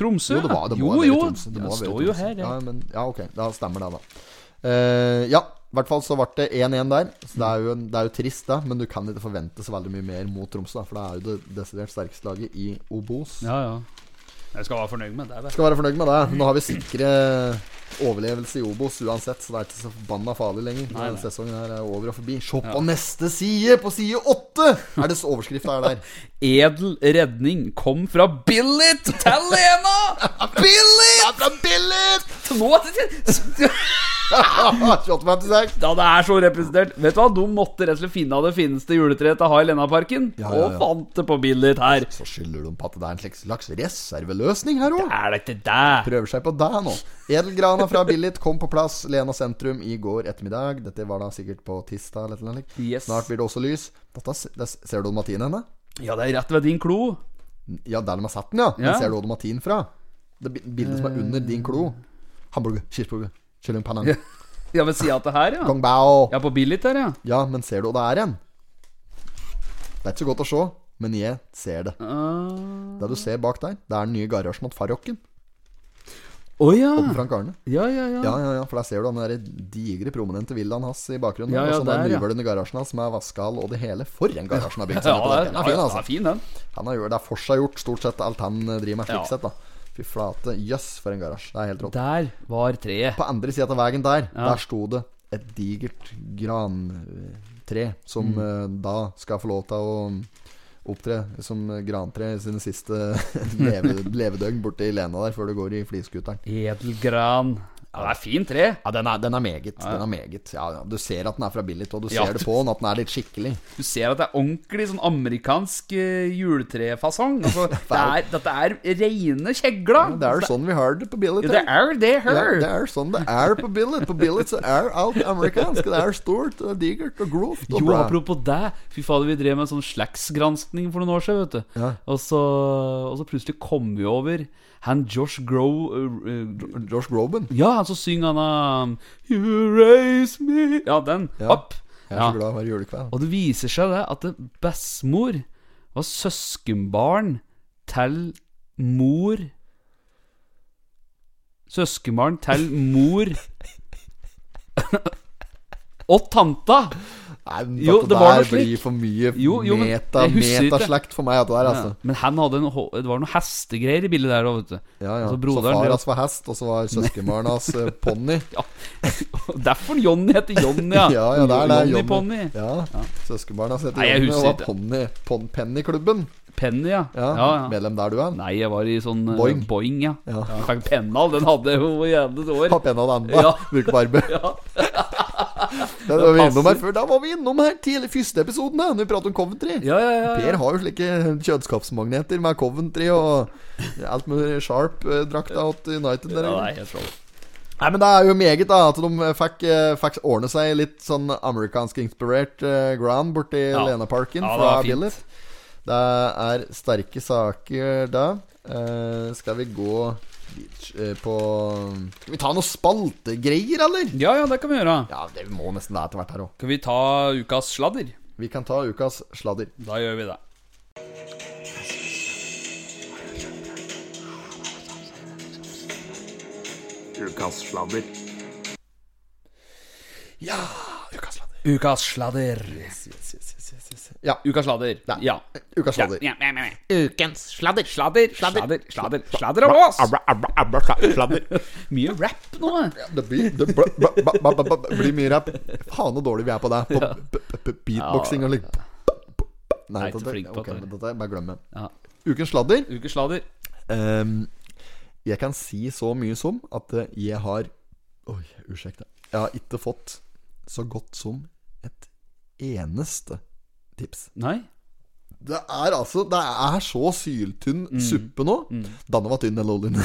S1: Tromsø?
S2: Jo, det, var, det må
S1: jo,
S2: ha vært
S1: jo.
S2: Tromsø. Det må
S1: det
S2: ha vært
S1: står jo
S2: Tromsø.
S1: her,
S2: ja.
S1: ja.
S2: men, ja, ok. Da stemmer det, da. Eh, ja, I hvert fall så ble det 1-1 der. Så det er, jo, en- det er jo trist, da, men du kan ikke forvente så veldig mye mer mot Tromsø. da, For det er jo det desidert sterkeste laget i Obos.
S1: Ja, ja. Jeg skal være fornøyd med det. det.
S2: Skal være fornøyd med det. Nå har vi sikre overlevelse i Obos uansett, så det er ikke så forbanna farlig lenger.
S1: Nei, nei.
S2: Sesongen her er over og forbi. Se på neste side! På side åtte er det overskrifta er der.
S1: Edel redning kom fra Billit til Lena! Billit! Nå er det
S2: 28-56.
S1: Ja, det er så representert. Vet du hva, De måtte rett og slett finne av det fineste juletreet til å ha i Lennaparken.
S2: Ja, ja, ja.
S1: Og fant det på Billit her.
S2: Så skylder de på at det er en slags- slags reserveløsning her òg.
S1: Er det ikke det?
S2: Prøver seg på deg nå. Edelgrana fra Billit kom på plass Lena sentrum i går ettermiddag. Dette var da sikkert på tirsdag eller noe slikt.
S1: Yes.
S2: Snart blir det også lys. Dette, s- der s- ser du Matin henne?
S1: Ja, det er rett ved din klo.
S2: Ja, der de har satt den, ja. Men
S1: Ja.
S2: ser du hvor Matin fra? Det bi- bildet som er under din klo. Hamburger, cheeseburger, kyllingpanne,
S1: Ja, ved sida av det her, ja.
S2: gong bao.
S1: Ja, på Billit her, ja.
S2: Ja, men ser du hvor det er igjen? Det er ikke så godt å se, men jeg ser det.
S1: Ah.
S2: Det du ser bak der, det er den nye garasjen mot Farrokken.
S1: Å ja.
S2: Frank Arne.
S1: Ja, ja, ja.
S2: Ja, ja, ja, for der ser du den der digre, prominente villaen hans i bakgrunnen.
S1: Ja, ja,
S2: og så den
S1: der, ja.
S2: nyvølende garasjen hans med vaskehall og det hele. For en garasjen har bygd
S1: Ja,
S2: seg! ned på
S1: det er,
S2: den. Den er fin,
S1: den er
S2: altså.
S1: fin, den.
S2: Han har gjort, det er forseggjort stort sett alt han eh, driver med, slik
S1: Ja.
S2: sett, da. Fy flate. Jøss, for en garasje. Det er helt rått.
S1: Der var treet.
S2: På andre sida av veien der, der sto det et digert grantre som
S1: Mm.
S2: eh, da skal få lov til å mm, opptre som eh, grantre i sine siste leve, levedøgn borti Lena der, før du går i fliskuteren.
S1: Edelgran. Ja, det er fint tre.
S2: Ja, den er, den er meget. Den er meget. Ja, ja. Du ser at den er fra Billit, og du
S1: Ja.
S2: ser det på den at den er litt skikkelig.
S1: Du ser at det er ordentlig sånn amerikansk eh, juletrefasong. Altså, det er, dette er reine kjegla.
S2: Det er jo sånn vi har det på Billit.
S1: Ja, det er det her.
S2: Ja, det er sånn det er på Billit. På Billit så er alt amerikansk. Det er stort og digert og grovt og
S1: Jo,
S2: bra.
S1: apropos det. Fy fader, vi drev med en sånn slagsgranskning for noen år siden, vet du.
S2: Ja.
S1: Og, så, og så plutselig kom vi over han Josh Grow eh, eh,
S2: Josh Groban.
S1: Ja, han som synger han um, You raise me Ja, den.
S2: Ja.
S1: Opp.
S2: Jeg er
S1: Ja.
S2: så glad hver julekveld.
S1: Og det viser seg det at det- bestemor var søskenbarn til mor Søskenbarn til mor og tanta!
S2: Nei, men
S1: Jo,
S2: dette
S1: det var noe
S2: der blir
S1: slik.
S2: for mye
S1: Jo, jo, men
S2: meta,
S1: jeg husker ikke.
S2: metaslekt for meg, dette der, altså.
S1: Ja. Men han hadde en, hå- det var noen hestegreier i bildet der òg, vet du.
S2: Ja, ja.
S1: Altså,
S2: Så,
S1: broderen
S2: far
S1: drev-
S2: hans var hest, og så var søskenbarn hans eh, ponni.
S1: Derfor Johnny heter Johnny, ja.
S2: Ja, ja, det er det.
S1: Johnny
S2: Johnny.
S1: Pony.
S2: Ja. Søskenbarna heter
S1: Nei, jeg
S2: Jonny og
S1: husker
S2: var ponni. Pon, Pennyklubben.
S1: Penny, ja.
S2: Ja,
S1: ja, ja.
S2: Medlem der du er.
S1: Nei, jeg var i sånn eh,
S2: Boing.
S1: Boing ja.
S2: Ja.
S1: ja. Fikk pennal, den hadde jeg jo i ene år.
S2: Papp en av det andre.
S1: Ja.
S2: Bruker barbe.
S1: Ja.
S2: Da var vi
S1: passer.
S2: innom her før. Da var vi innom her tidlig første episoden, da. Når vi prater om Coventry.
S1: Ja, ja, ja, ja.
S2: Per har jo slike kjødskapsmagneter med Coventry og alt eh, med Sharp-drakta til United. Der,
S1: Ja, det
S2: egentlig.
S1: er helt rått.
S2: Nei, men det er jo meget, da. At de fikk, eh, fikk ordne seg litt sånn amerikansk-inspirert eh, ground borti
S1: Ja.
S2: Lenaparken
S1: Ja, det
S2: fra
S1: var fint.
S2: Billet. Det er sterke saker da. Eh, skal vi gå litt, eh, på Skal vi ta noe spaltegreier, eller?
S1: Ja, ja, det kan vi gjøre.
S2: Ja, det må nesten det etter hvert her òg.
S1: Skal vi ta ukas sladder?
S2: Vi kan ta ukas sladder.
S1: Da gjør vi det.
S3: Ukas sladder.
S2: Ja, ukas sladder.
S1: Ukas sladder.
S2: Yes, yes, yes, yes, yes, yes. Ja,
S1: Ukas sladder.
S2: Nei.
S1: Ja.
S2: ukas sladder.
S1: Ja, ja, ja, ja.
S3: Ukens sladder.
S1: Sladder, sladder, sladder, sladder om oss!
S3: Abra, abra, abra, sla- sladder.
S1: Mye rap nå. eh.
S2: Det blir, det bl- bl- bl- bl- bl- bl- blir mye rap. Faen så dårlig vi er på det. På b- b- b- beatboxing og litt Nei,
S1: Nei, ikke flink
S2: dette,
S1: på
S2: ok,
S1: det.
S2: men dette bare glem det.
S1: Ja.
S2: Ukens sladder.
S1: Ukas sladder.
S2: Ehm, jeg kan si så mye som at eh, jeg har Oi, unnskyld. Jeg har ikke fått så godt som et eneste tips.
S1: Nei?
S2: Det er altså Det er så syltynn
S1: Mm.
S2: suppe nå. Danne var tynn, den oljen.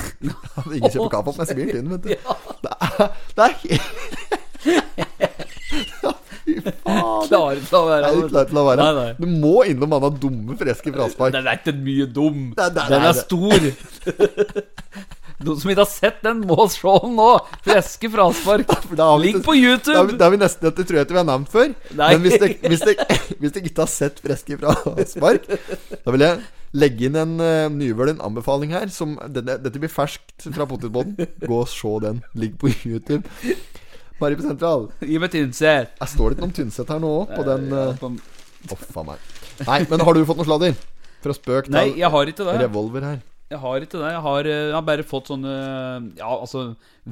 S2: Ingen kjøper kaffe, men jeg blir tynn, vet du. Det er, det er helt Fy faen.
S1: Klare til å
S2: Det
S1: være
S2: er ikke lett til å være.
S1: Nei, nei.
S2: Du må innom denne dumme, freske fraspark.
S1: Den er ikke mye dum.
S2: Nei, nei,
S1: Den
S2: nei,
S1: er
S2: det-
S1: stor. Noen som ikke har sett den, må se den nå. Freske fraspark.
S2: For da har vi
S1: Ligg
S2: ikke-
S1: på
S2: Da har vi,
S1: YouTube.
S2: da har vi nesten Dette tror jeg ikke vi har nevnt før.
S1: Nei.
S2: Men hvis dere hvis dere- hvis dere ikke har sett Freske fraspark, da vil jeg legge inn en uh, nyvølen anbefaling her. Som, denne, dette blir ferskt fra potetbåten. Gå og se den. Ligg på YouTube. Mariby sentral.
S1: Gi meg Tynset.
S2: Jeg står det ikke noen Tynset her nå òg, på den
S1: Ja,
S2: eh,
S1: på-
S2: Å, faen meg. Nei, men har du fått noe sladder? Fra spøk til
S1: Nei, jeg har ikke det.
S2: revolver her.
S1: Jeg har ikke det. Jeg har, eh, jeg har bare fått sånne Ja, altså,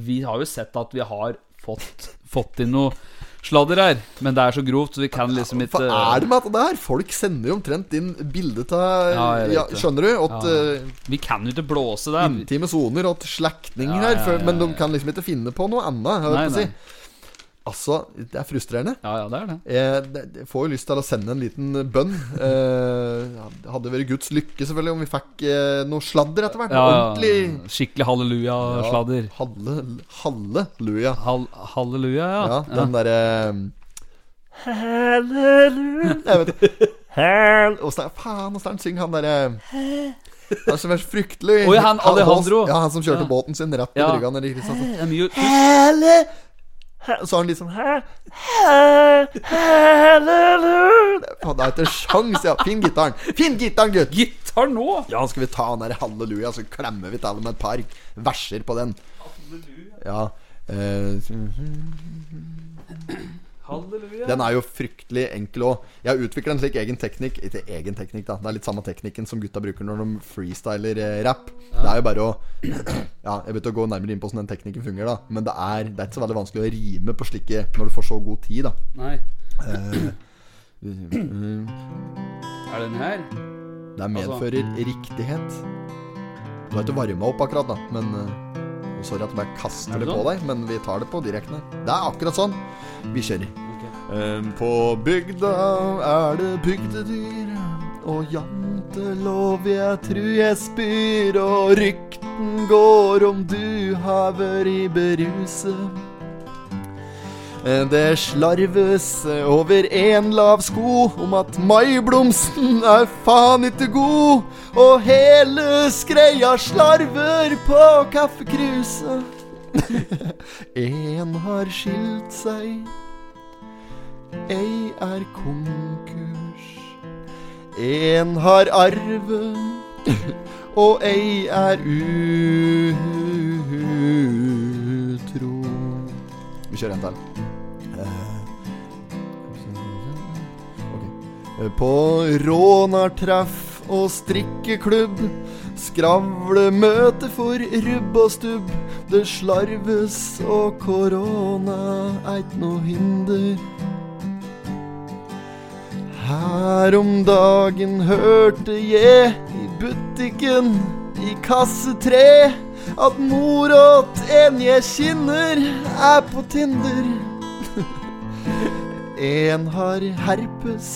S1: vi har jo sett at vi har fått, fått inn noe sladder her. Men det er så grovt, så vi kan liksom
S2: Hva
S1: ikke
S2: er det med dette der? Folk sender jo omtrent inn bilde av ja,
S1: Ja, jeg vet det.
S2: Skjønner du? At
S1: Ja.
S2: eh,
S1: Vi kan jo ikke blåse det.
S2: Intime soner og slektninger
S1: Ja, ja,
S2: her, for,
S1: ja,
S2: men de
S1: ja.
S2: kan liksom ikke finne på noe annet. Jeg
S1: Nei,
S2: holdt på å
S1: nei.
S2: si. Altså, det er frustrerende.
S1: Ja, ja, det er det.
S2: Eh, det- Jeg får jo lyst til å sende en liten bønn. Eh, ja, det hadde vært Guds lykke selvfølgelig om vi fikk eh, noe sladder etter hvert.
S1: Ja,
S2: Ordentlig.
S1: skikkelig halleluja-sladder.
S2: Halle, halleluja.
S1: Hall, halleluja, ja.
S2: Ja,
S1: ja.
S2: den derre Halleluja Jeg vet Hell Åssen er faen, åssen er han synger han derre Han som er så fryktelig
S1: Oi, han Alejandro.
S2: Ja, han som kjørte
S1: Ja.
S2: båten sin rett på
S1: Ja.
S2: brygga nede i
S1: Det
S2: Kristiansand.
S1: er mye
S2: Helle he- Så har han liksom he- he- Halleluja Faen, Det er ikke sjans, ja. Finn gitaren. Finn gitaren, gutt!
S1: gitar nå!
S2: Ja, skal vi ta den der halleluja, så klemmer vi til med et par verser på den. Halleluja Ja. Eh,
S1: Halleluja.
S2: Den er jo fryktelig enkel òg. Jeg har utvikla en slik egen teknikk Ikke egen teknikk, da. Det er litt samme teknikken som gutta bruker når de freestyler eh, rap. Det er jo bare å Ja, jeg begynte å gå nærmere inn på hvordan den teknikken fungerer, da. Men det er, det er ikke så veldig vanskelig å rime på slike når du får så god tid, da. Mm.
S1: Nei.
S2: Det
S1: Er det den her? Altså,
S2: medfører
S1: mm.
S2: riktighet. Du har ikke varma opp akkurat, da, men eh, Sorry at jeg bare kaster
S1: Er
S2: det
S1: det
S2: på
S1: sånn?
S2: deg, men vi tar det på direkten her. Det er akkurat sånn. Vi kjører.
S1: Ok.
S2: Em, På bygda er det bygdedyr, og jantelov jeg tru jeg spyr, og rykten går om du har vært i beruset. Eh, Det slarves over en lav sko om at maiblomsten er faen ikke god, og hele skreia slarver på kaffekruset. en har skilt seg. Ei er konkurs. En har arve, og ei er utro. Vi kjører en til. Eh, ok. Eh, På rånartreff og strikkeklubb. Skravlemøte for rubb og stubb. Det slarves og korona eit no hinder. Her om dagen hørte jeg i butikken i kasse tre at mora til en jeg kjenner, er på Tinder. En har herpes,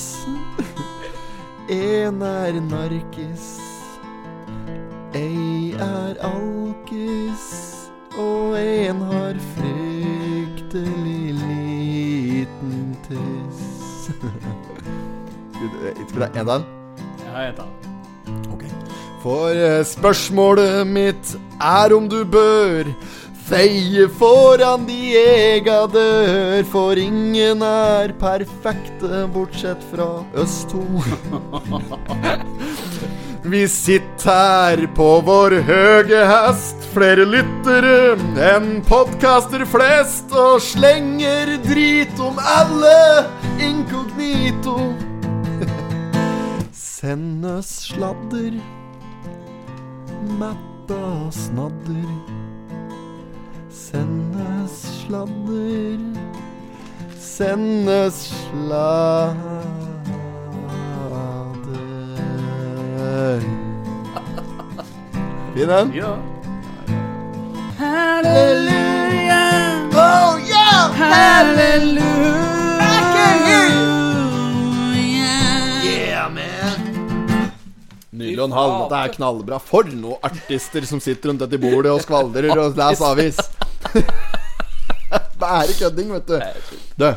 S2: en er narkis, ei er alkis, og en har fryktelig liten tiss. Skulle det en til?
S1: Ja, jeg tar den.
S2: Ok. For eh, spørsmålet mitt er om du bør feie foran de ega dør, for ingen er perfekte bortsett fra oss to. Vi sitter her på vår høge hest, flere lyttere enn podkaster flest, og slenger drit om alle inkognito. Send oss sladder, metta snadder. Send oss sladder, send oss sladder. Fin en?
S1: Ja.
S2: Oh yeah! I can hear you! Yeah, man! Nydelig og en halv. Dette er knallbra. For noen artister som sitter rundt dette bordet og skvaldrer og leser avis. Bare kødding, vet du. Du,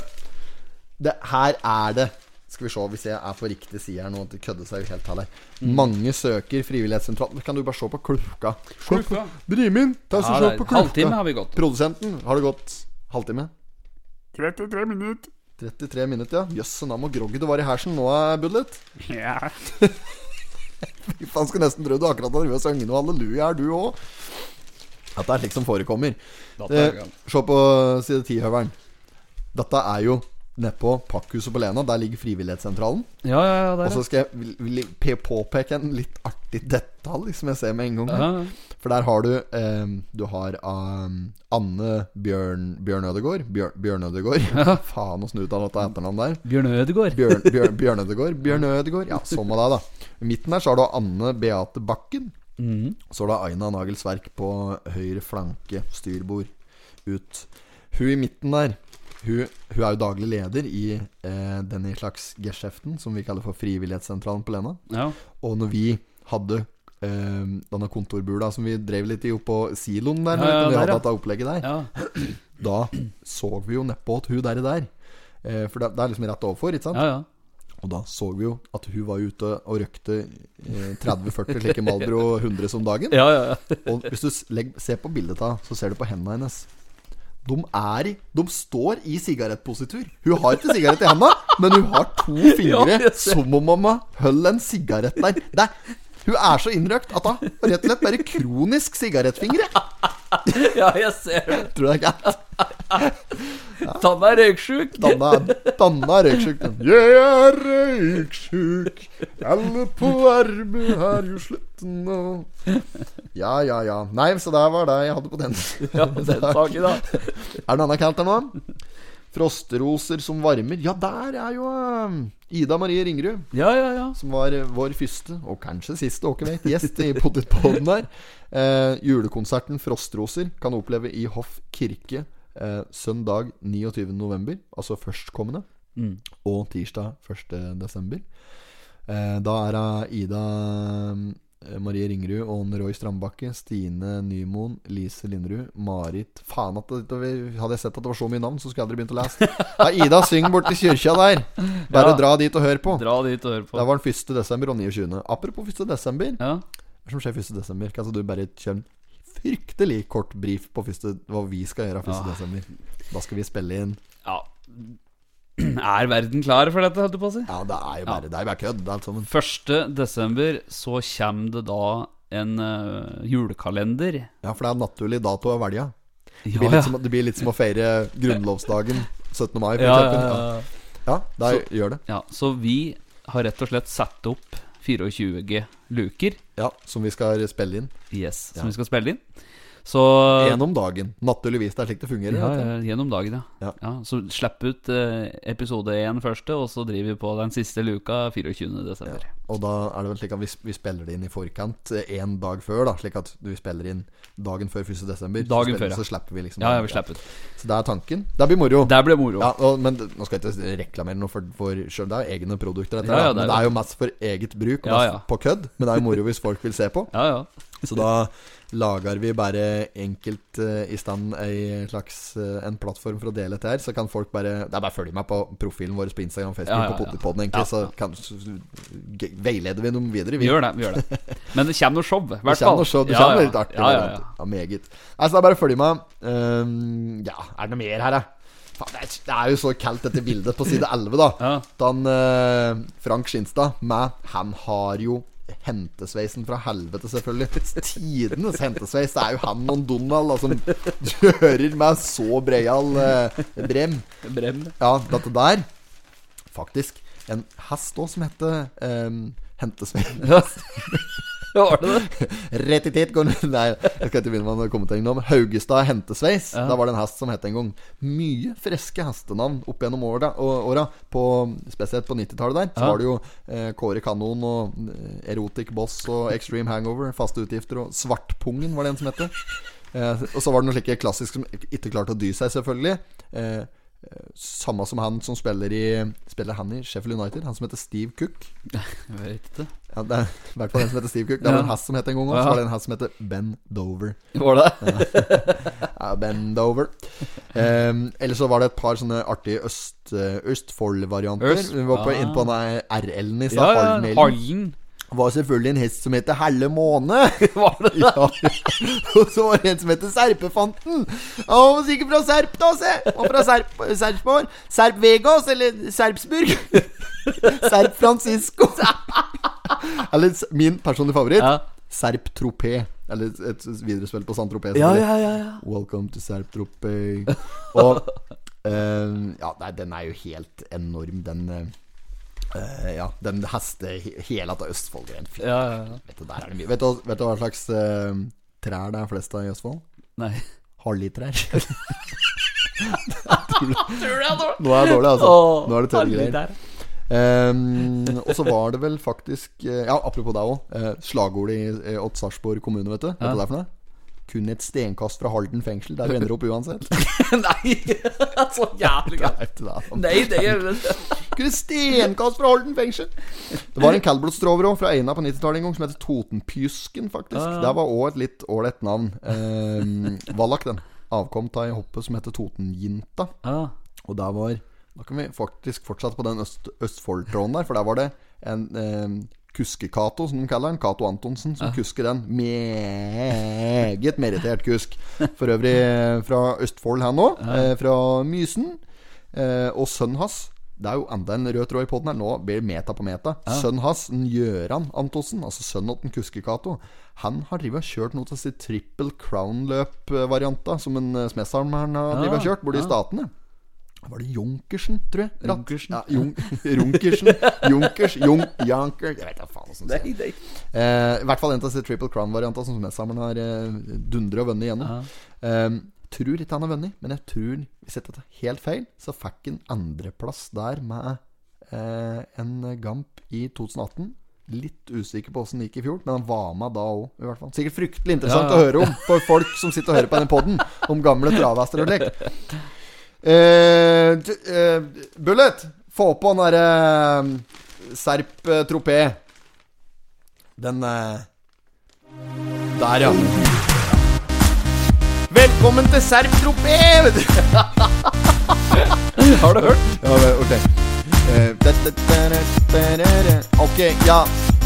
S2: det, her er det Skal vi se hvis jeg er på riktig side her nå. Det kødder seg jo helt til her. Mange søker frivillighetssentralen. Kan du bare se på klokka?
S1: Klokka.
S2: Drimin, ta og
S1: Ja,
S2: se
S1: det er-
S2: på klokka.
S1: halvtime har vi gått.
S2: Produsenten, har det gått halvtime?
S3: 33 minutter.
S2: 33 minutter, ja. Jøss, da må groggy du var i hersen nå, eh, Budlet.
S3: Ja.
S2: Fy faen, skulle nesten tro du akkurat hadde drevet og sunget noe halleluja, er du òg? At det er slik som forekommer.
S1: Data er
S2: Eh,
S1: gang.
S2: se på side 10-høveren. Dette er jo nedpå Pakkhuset på Lena. Der ligger frivillighetssentralen.
S1: Ja, ja, ja, der,
S2: Og så skal jeg vil- vil- pe- påpeke en litt artig detalj som jeg ser med en gang.
S1: ja. Ja,
S2: For der har du eh, Du har ehm, Anne Bjørn, Bjørn Ødegård. Bjørn, Bjørn Ødegård. Faen åssen uttaler dette etternavnet der.
S1: Bjørn Ødegård.
S2: Bjørn, Bjørn, Bjørn Ødegård. Bjørn Ødegård. Ja, sånn med deg, da. I midten der så har du Anne Beate Bakken. Så har du Aina Nagelsverk på høyre flanke, styrbord, ut. Hun i midten der, hun, hun er jo daglig leder i eh, denne slags geskjeften som vi kaller for Frivillighetssentralen på Lena.
S1: Ja.
S2: Og når vi hadde eh, denne kontorbula som vi drev litt i oppå siloen der,
S1: Ja,
S2: når
S1: ja,
S2: vi
S1: der,
S2: hadde
S1: ja.
S2: dette opplegget der,
S1: ja.
S2: da så vi jo nedpå at hun der, der. Eh, For det, det er liksom rett overfor, ikke sant?
S1: Ja, ja.
S2: Og da så vi jo at hun var ute og røkte eh, 30-40 slike Malbro 100 som dagen.
S1: ja, ja, ja.
S2: Og hvis du s- legg, ser på bildet av så ser du på hendene hennes. De er i De står i sigarettpositur. Hun har ikke sigarett i henda, men hun har to fingre
S1: Ja, jeg ser.
S2: som om mamma holder en sigarett der. Det, hun er så innrøkt at hun har rett og slett bare kronisk sigarettfingre.
S1: ja jeg ser det.
S2: Tror jeg ikke er
S1: Tanna er røyksjuk.
S2: Danna, Danna er røyksjuk. den. Jeg er røyksjuk, alle på arbeid er jo slutten nå. Ja, ja, ja. Nei, så der var det jeg hadde på den.
S1: Ja, den saken, da.
S2: Er det noe annet kaldt der nå? Frostroser som varmer. Ja, der er jo eh, Ida Marie Ringerud.
S1: Ja, ja, ja.
S2: Som var eh, vår første, og kanskje siste, åker vet, gjest i Potetpodden der. Eh, julekonserten Frostroser kan du oppleve i Hoff kirke eh, søndag 29. november, altså førstkommende,
S1: Mm.
S2: og tirsdag 1. desember. Eh, da er det Ida eh, Marie Ringerud og Roy Strandbakke, Stine Nymoen, Lise Linderud, Marit Faen, at det, hadde jeg sett at det var så mye navn, så skulle jeg aldri begynt å lese. Ja, Ida, syng borti kirka der! Bare
S1: Ja.
S2: dra dit og hør på.
S1: Dra dit og hør på.
S2: Det var den 1. desember og 29. Apropos 1. desember.
S1: Ja.
S2: Hva som skjer 1. desember? Kan altså du bare kjøre en fryktelig kort brief på 1. hva vi skal gjøre 1.
S1: Ja.
S2: desember? Da skal vi spille inn
S1: ja. Er verden klar for dette, holdt jeg på å si?
S2: Ja, det er jo bare, det er jo bare kødd. Det er alt sammen.
S1: 1. desember så kommer det da en eh, julekalender.
S2: Ja, for det er en naturlig dato å velge. Det
S1: Ja,
S2: blir,
S1: ja.
S2: litt som, det blir litt som å feire grunnlovsdagen 17. mai, for
S1: Ja,
S2: eksempel.
S1: ja,
S2: Ja,
S1: ja.
S2: ja da gjør det.
S1: ja, så vi har rett og slett satt opp 24 luker,
S2: Ja, Som vi skal spille inn.
S1: yes,
S2: Ja.
S1: som vi skal spille inn. Så
S2: Én om dagen. Naturligvis. Det er slik det fungerer.
S1: ja,
S2: vet du.
S1: ja, gjennom dagen, ja.
S2: Ja.
S1: ja. så slipp ut eh, episode 1 første, og så driver vi på den siste luka 24. desember.
S2: Og da er det vel slik at vi, vi spiller det inn i forkant eh, en dag før, da. Slik at vi spiller inn dagen før 1. desember. så
S1: Dagen
S2: spiller-
S1: før, ja.
S2: Så slipper vi liksom
S1: Ja, ja, vi slipper ut.
S2: Så det er tanken. Det blir moro.
S1: Der ble moro.
S2: Ja, og, men det- nå skal jeg ikke reklamere noe for, for selv, Det er jo egne produkter, dette.
S1: Ja, ja,
S2: da. men
S1: det er
S2: det er jo mest for eget bruk, og
S1: Ja,
S2: mest
S1: ja.
S2: på kødd. Men det er jo moro hvis folk vil se på.
S1: Ja, ja.
S2: Så da lager vi bare enkelt eh, i stand ei slags eh, en plattform for å dele dette her. Så kan folk bare Det er bare å følge meg på profilen vår på Instagram og Facebook
S1: Ja, ja,
S2: og
S1: ja.
S2: Potipodden,
S1: Ja,
S2: egentlig. Så, kan, så, så g- veileder vi dem videre.
S1: Vi gjør det. vi gjør det Men det kommer noe show, i hvert
S2: Det
S1: fall.
S2: kommer noe show. Det
S1: Ja,
S2: kommer
S1: ja.
S2: litt artig.
S1: Ja, ja,
S2: varianter.
S1: ja.
S2: ja, meget. Nei, så det er bare å følge med. Ehm, ja, er det noe mer her, da? Faen, det, er, det er jo så kaldt, dette bildet på side 11, da.
S1: Ja.
S2: Dan eh, Frank Skinstad med Han har jo hentesveisen fra helvete, selvfølgelig. Tidenes hentesveis. Det er jo han og Donald da, som kjører med så breial eh, brem.
S1: Brem.
S2: Ja, dette der Faktisk en hest òg som heter um, Hentesveis.
S1: Var det det?
S2: Rett i tid går den- Nei, jeg skal ikke begynne med å kommentere noe om Haugestad Hentesveis.
S1: Ja.
S2: Da var det en hest som het en gang. Mye friske hestenavn opp gjennom åra, å- åra på, spesielt på 90-tallet der. Så
S1: Ja.
S2: var det jo eh, Kåre Kanon og eh, Erotic Boss og Extreme Hangover, faste utgifter, og Svartpungen var det en som het. Eh, og så var det noen slike klassiske som ikke klarte å dy seg, selvfølgelig. Eh, eh, samme som han som spiller i Spiller han i Sheffield United, han som heter Steve Cook.
S1: Jeg vet ikke.
S2: Ja, det er i hvert fall en som heter Steve Cook. Det var
S1: Ja.
S2: en hest som het en gang òg.
S1: Ja.
S2: Så var det en hest som heter Ben Dover.
S1: Var det?
S2: Ja, Ben Dover. Um, Eller så var det et par sånne artige øst, eh, Østfold-varianter.
S1: Øst-
S2: Vi var på,
S1: ja.
S2: inne på den RL-en i
S1: Ja,
S2: stad.
S1: ja.
S2: Hallmailen.
S1: Hallen.
S2: Var selvfølgelig en hest som heter Helle Måne.
S1: Var det
S2: Ja. Og så var det en som heter Serpefanten. Han var sikkert fra Serp, da, se! Og fra Serp, Serpsborg. Serp Vegas, eller Serpsburg. Serp Francisco. Eller s- min personlige favoritt,
S1: Ja.
S2: Serp Tropé. Eller et viderespill på San Tropé.
S1: Ja, ja, ja, ja.
S2: Welcome to Serp Tropé. Og Eh, ja, nei, den er jo helt enorm, den eh, eh, Ja, den heste Hele av Østfold-greien. Fy
S1: Ja, ja, ja.
S2: Vet du, der er det mye Vet du, vet du hva slags eh, trær det er flest av i Østfold?
S1: Nei.
S2: Hallitrær. Nå er det dårlig, altså. Nå er det tørre greier. Ehm, og så var det vel faktisk eh, Ja, apropos deg òg. slagordet i eh, Odd Sarpsborg kommune, vet du. Vet du
S1: Ja.
S2: hva det er for noe? Kun et stenkast fra Halden fengsel. Der du ender opp uansett.
S1: Nei, så jævlig gærent.
S2: Vet du det, altså.
S1: Nei, det gjør det
S2: Kun et stenkast fra Halden fengsel! Det var en Calbert-strover òg, fra Eina på 90-tallet en gang, som het Totenpysken, faktisk.
S1: Ja, ja.
S2: Det var òg et litt ålreit navn. Ehm, Vallak, den. Avkom av ei hoppe som heter Totenjinta.
S1: Ah,
S2: Og der var Da kan vi faktisk fortsette på den øst, Østfold-tråden der, for der var det en eh, Kuske-Cato, som de kaller den. Cato Antonsen som kusker den. Meget merittert kusk. For øvrig eh, fra Østfold, han òg. Eh, fra Mysen. Eh, og sønnen hans det er jo enda en rød tråd i poden her. Nå blir det meta på meta. Sønnen hans, en Gjøran Antonsen, altså sønnen til Kuske-Cato, han har drivet og kjørt noe av sitt triple crown-løp-varianta som en eh, Smesholm har drivet og kjørt borte i Statene. Var det Junkersen, tror jeg? Ratt.
S1: Junkersen?
S2: Ja, Jun Runkersen. Junkers. Jun Janker Jeg vet da faen åssen det
S1: nei,
S2: er.
S1: nei.
S2: Eh, I hvert fall en av disse Triple Crown-variantene som Smedsameren har eh, dundra og vunnet igjennom. Eh, tror ikke han har vunnet, men jeg tror, hvis jeg tar helt feil, så fikk han andreplass der med eh, en Gamp i 2018. Litt usikker på åssen det gikk i fjor, men han var med da òg, i hvert fall. Sikkert fryktelig interessant
S1: Ja, ja.
S2: å høre om for folk som sitter og hører på denne poden, om gamle travhester og lek. Eh, du- eh, Bullet, få på den derre eh, Serp eh, tropé. Den eh, Der, ja. Velkommen til Serp tropé! vet du.
S1: Har du hørt?
S2: Ja, men, ok. Eh, da, da, da, da, da, da, da. Ok, ja.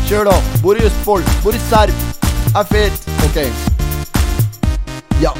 S2: Kjør, da. Bor i Østfold. Bor i Serp. Er fet. Ok. Ja.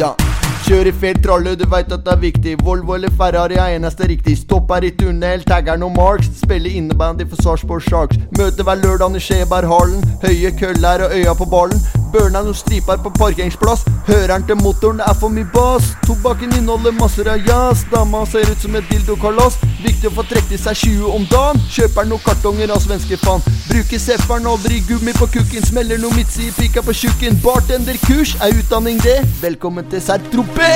S2: Ja. Kjør i fet tralle, du veit at det er viktig. Volvo eller Ferrari er eneste riktig. Stopp her i tunnel, tagger noen marks. Spiller innebandy for Sarpsborg Sharks. Møter hver lørdag i Skjeberghallen. Høye køller og øya på ballen. Børna noen striper på parkeringsplass. Høreren til motoren er for mye bass. Tobakken inneholder masser av jazz. Dama ser ut som et dildokalass. Viktig å få trukket seg 20 om dagen. Kjøper noen kartonger av svenske faen. Bruker Zepperen, aldri gummi på kukken. Smeller noe midtsi i pika på tjukken. Bartenderkurs er utdanning, det. Velkommen til Serp Tropé!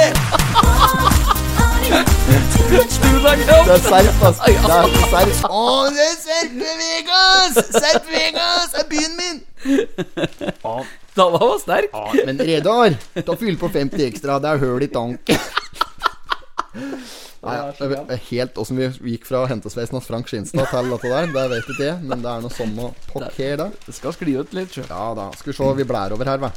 S2: Det er Serp, ass. Det er Serp. Å, det er Serp Vegas! Serp Vegas er byen min!
S1: Dalla var sterk.
S2: Men Redar, ta fyll på 50 ekstra. Det er høl i tank. Nei, ja, jeg vet- jeg vet helt åssen vi gikk fra hentesveisen av Frank Skinstad til dette der, det vet ikke jeg, men det er noe samme pokker der.
S1: Det skal skli ut litt, sjø.
S2: Ja da. Skal vi se, vi blær over her, hva.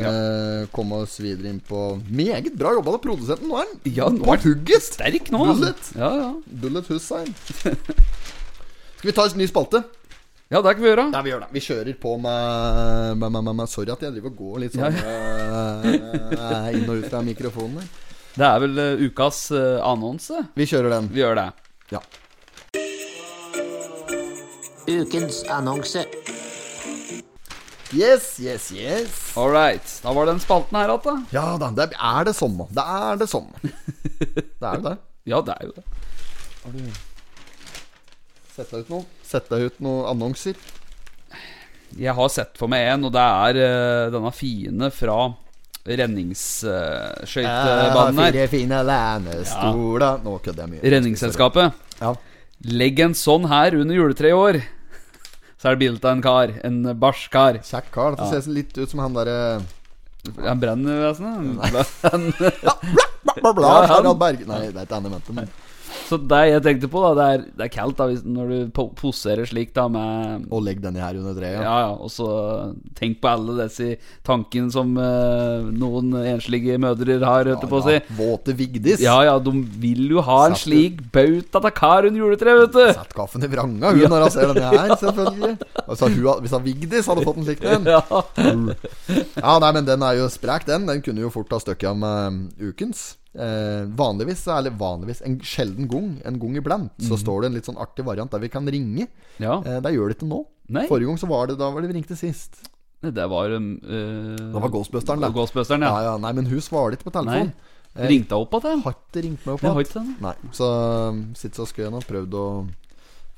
S2: Eh, komme oss videre inn på Meget bra jobba av produsenten. Nå er han
S1: Ja, nå
S2: på
S1: er
S2: hugget!
S1: Sterk nå, altså.
S2: Bullet.
S1: Ja, ja.
S2: Bullet Hussein. Skal vi ta en ny spalte?
S1: ja, det kan vi gjøre.
S2: Ja, vi gjør det. Vi kjører på med, med, med, med, med Sorry at jeg driver og går litt sånn eh, inn og ut av mikrofonen. her.
S1: Det er vel eh, ukas eh, annonse.
S2: Vi kjører den.
S1: Vi gjør det.
S2: Ja.
S6: Ukens annonse.
S2: Yes, yes, yes.
S1: All right. Da var det den spalten her igjen, da.
S2: Ja da. Det er det samme. Det er det samme. Det er jo det.
S1: Ja, det er jo det.
S2: Sett deg ut noe. Sett deg ut noen annonser.
S1: Jeg har sett for meg en, og det er eh, denne fine fra redningsskøytebanen eh, her.
S2: Eh, Ah, fire fine lænestoler Nå kødder jeg mye.
S1: Redningsselskapet.
S2: Ja.
S1: Legg en sånn her under juletreet i år. Så er det bilde av en kar. En barsk kar.
S2: Kjekk kar. Dette ser litt ut som han eh, derre
S1: Han brenner vesenet.
S2: Bla, Harald Berg Nei, det er ikke han jeg mente, men
S1: Så det jeg tenkte på, da, det er, det er kaldt da, hvis, når du po- poserer slik da med
S2: Og legg denne her under treet.
S1: ja,
S2: Ja.
S1: ja, og så tenk på alle disse tankene som eh, noen enslige mødre har, holdt jeg på å si.
S2: Våte Vigdis.
S1: Ja ja, de vil jo ha en
S2: Satt du-
S1: slik bauta av kar under juletreet, vet du.
S2: Sett kaffen i vranga, hun, når hun ser denne her, selvfølgelig. Og så hun, hadde- hvis han Vigdis hadde fått en slik en
S1: Ja.
S2: Ja, nei, men den er jo sprek, den. Den kunne jo fort ha støkket av med um, ukens. Eh, vanligvis, eller vanligvis, en sjelden gang, en gang iblant, så
S1: Mhm.
S2: står det en litt sånn artig variant der vi kan ringe.
S1: ja.
S2: Eh, det gjør det ikke nå.
S1: Nei.
S2: Forrige gang så var det da var det vi ringte sist.
S1: Det var um,
S2: Det var Ghostbusteren, det.
S1: Ghostbusteren,
S2: Ja,
S1: ja.
S2: ja, nei, men hun svarer ikke på telefonen.
S1: Ringte jeg opp igjen?
S2: Har ikke ringt meg opp
S1: Det har
S2: igjen.
S1: ikke den.
S2: Nei, så um, sitt så skulle jeg nå prøvd å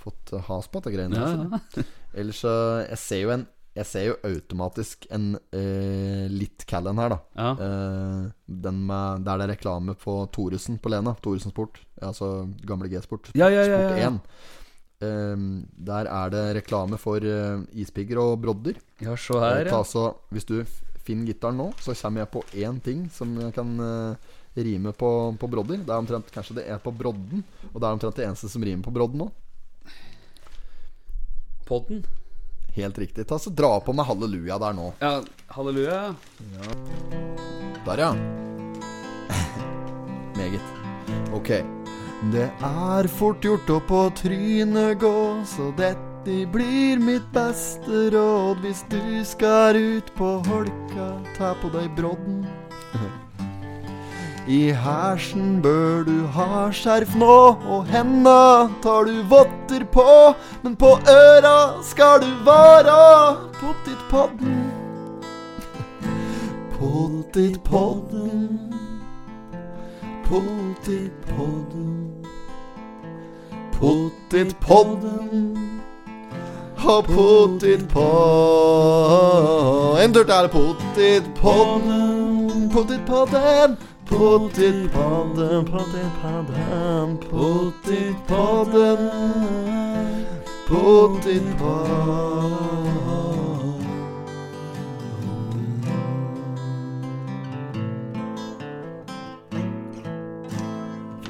S2: fått eh, has på dette greiene.
S1: Ja,
S2: altså.
S1: ja.
S2: Ellers så Jeg ser jo en Jeg ser jo automatisk en eh, litt callen her, da.
S1: Ja.
S2: Eh, den med, der det er reklame på Thoresen på Lena. Thoresen Sport. Altså gamle G-sport.
S1: Ja, ja, ja,
S2: Sport
S1: ja.
S2: 1. Eh, der er det reklame for eh, ispigger og brodder. Eh,
S1: ja, se her,
S2: Ta
S1: ja.
S2: så- hvis du f- finner gitaren nå, så kommer jeg på én ting som jeg kan eh, rime på, på brodder. Det er omtrent kanskje det er på brodden, og det er omtrent det eneste som rimer på brodden nå.
S1: Podden.
S2: Helt riktig. Ta så Dra på med halleluja der nå.
S1: Ja, halleluja.
S2: Der, ja. Meget. Ok. Det er fort gjort å på trynet gå, så dette blir mitt beste råd. Hvis du skal ut på holka, ta på deg brodden. I hersen bør du ha skjerf nå, og henda tar du votter på. Men på øra skal du vara pottitpodden. Pottitpodden. Pottitpodden. Pottitpodden. Ha pottitpodden. En tur til pottitpodden. Pottitpodden. Pottitpodden, pottitpodden, pottitpodden. Pottitpodden.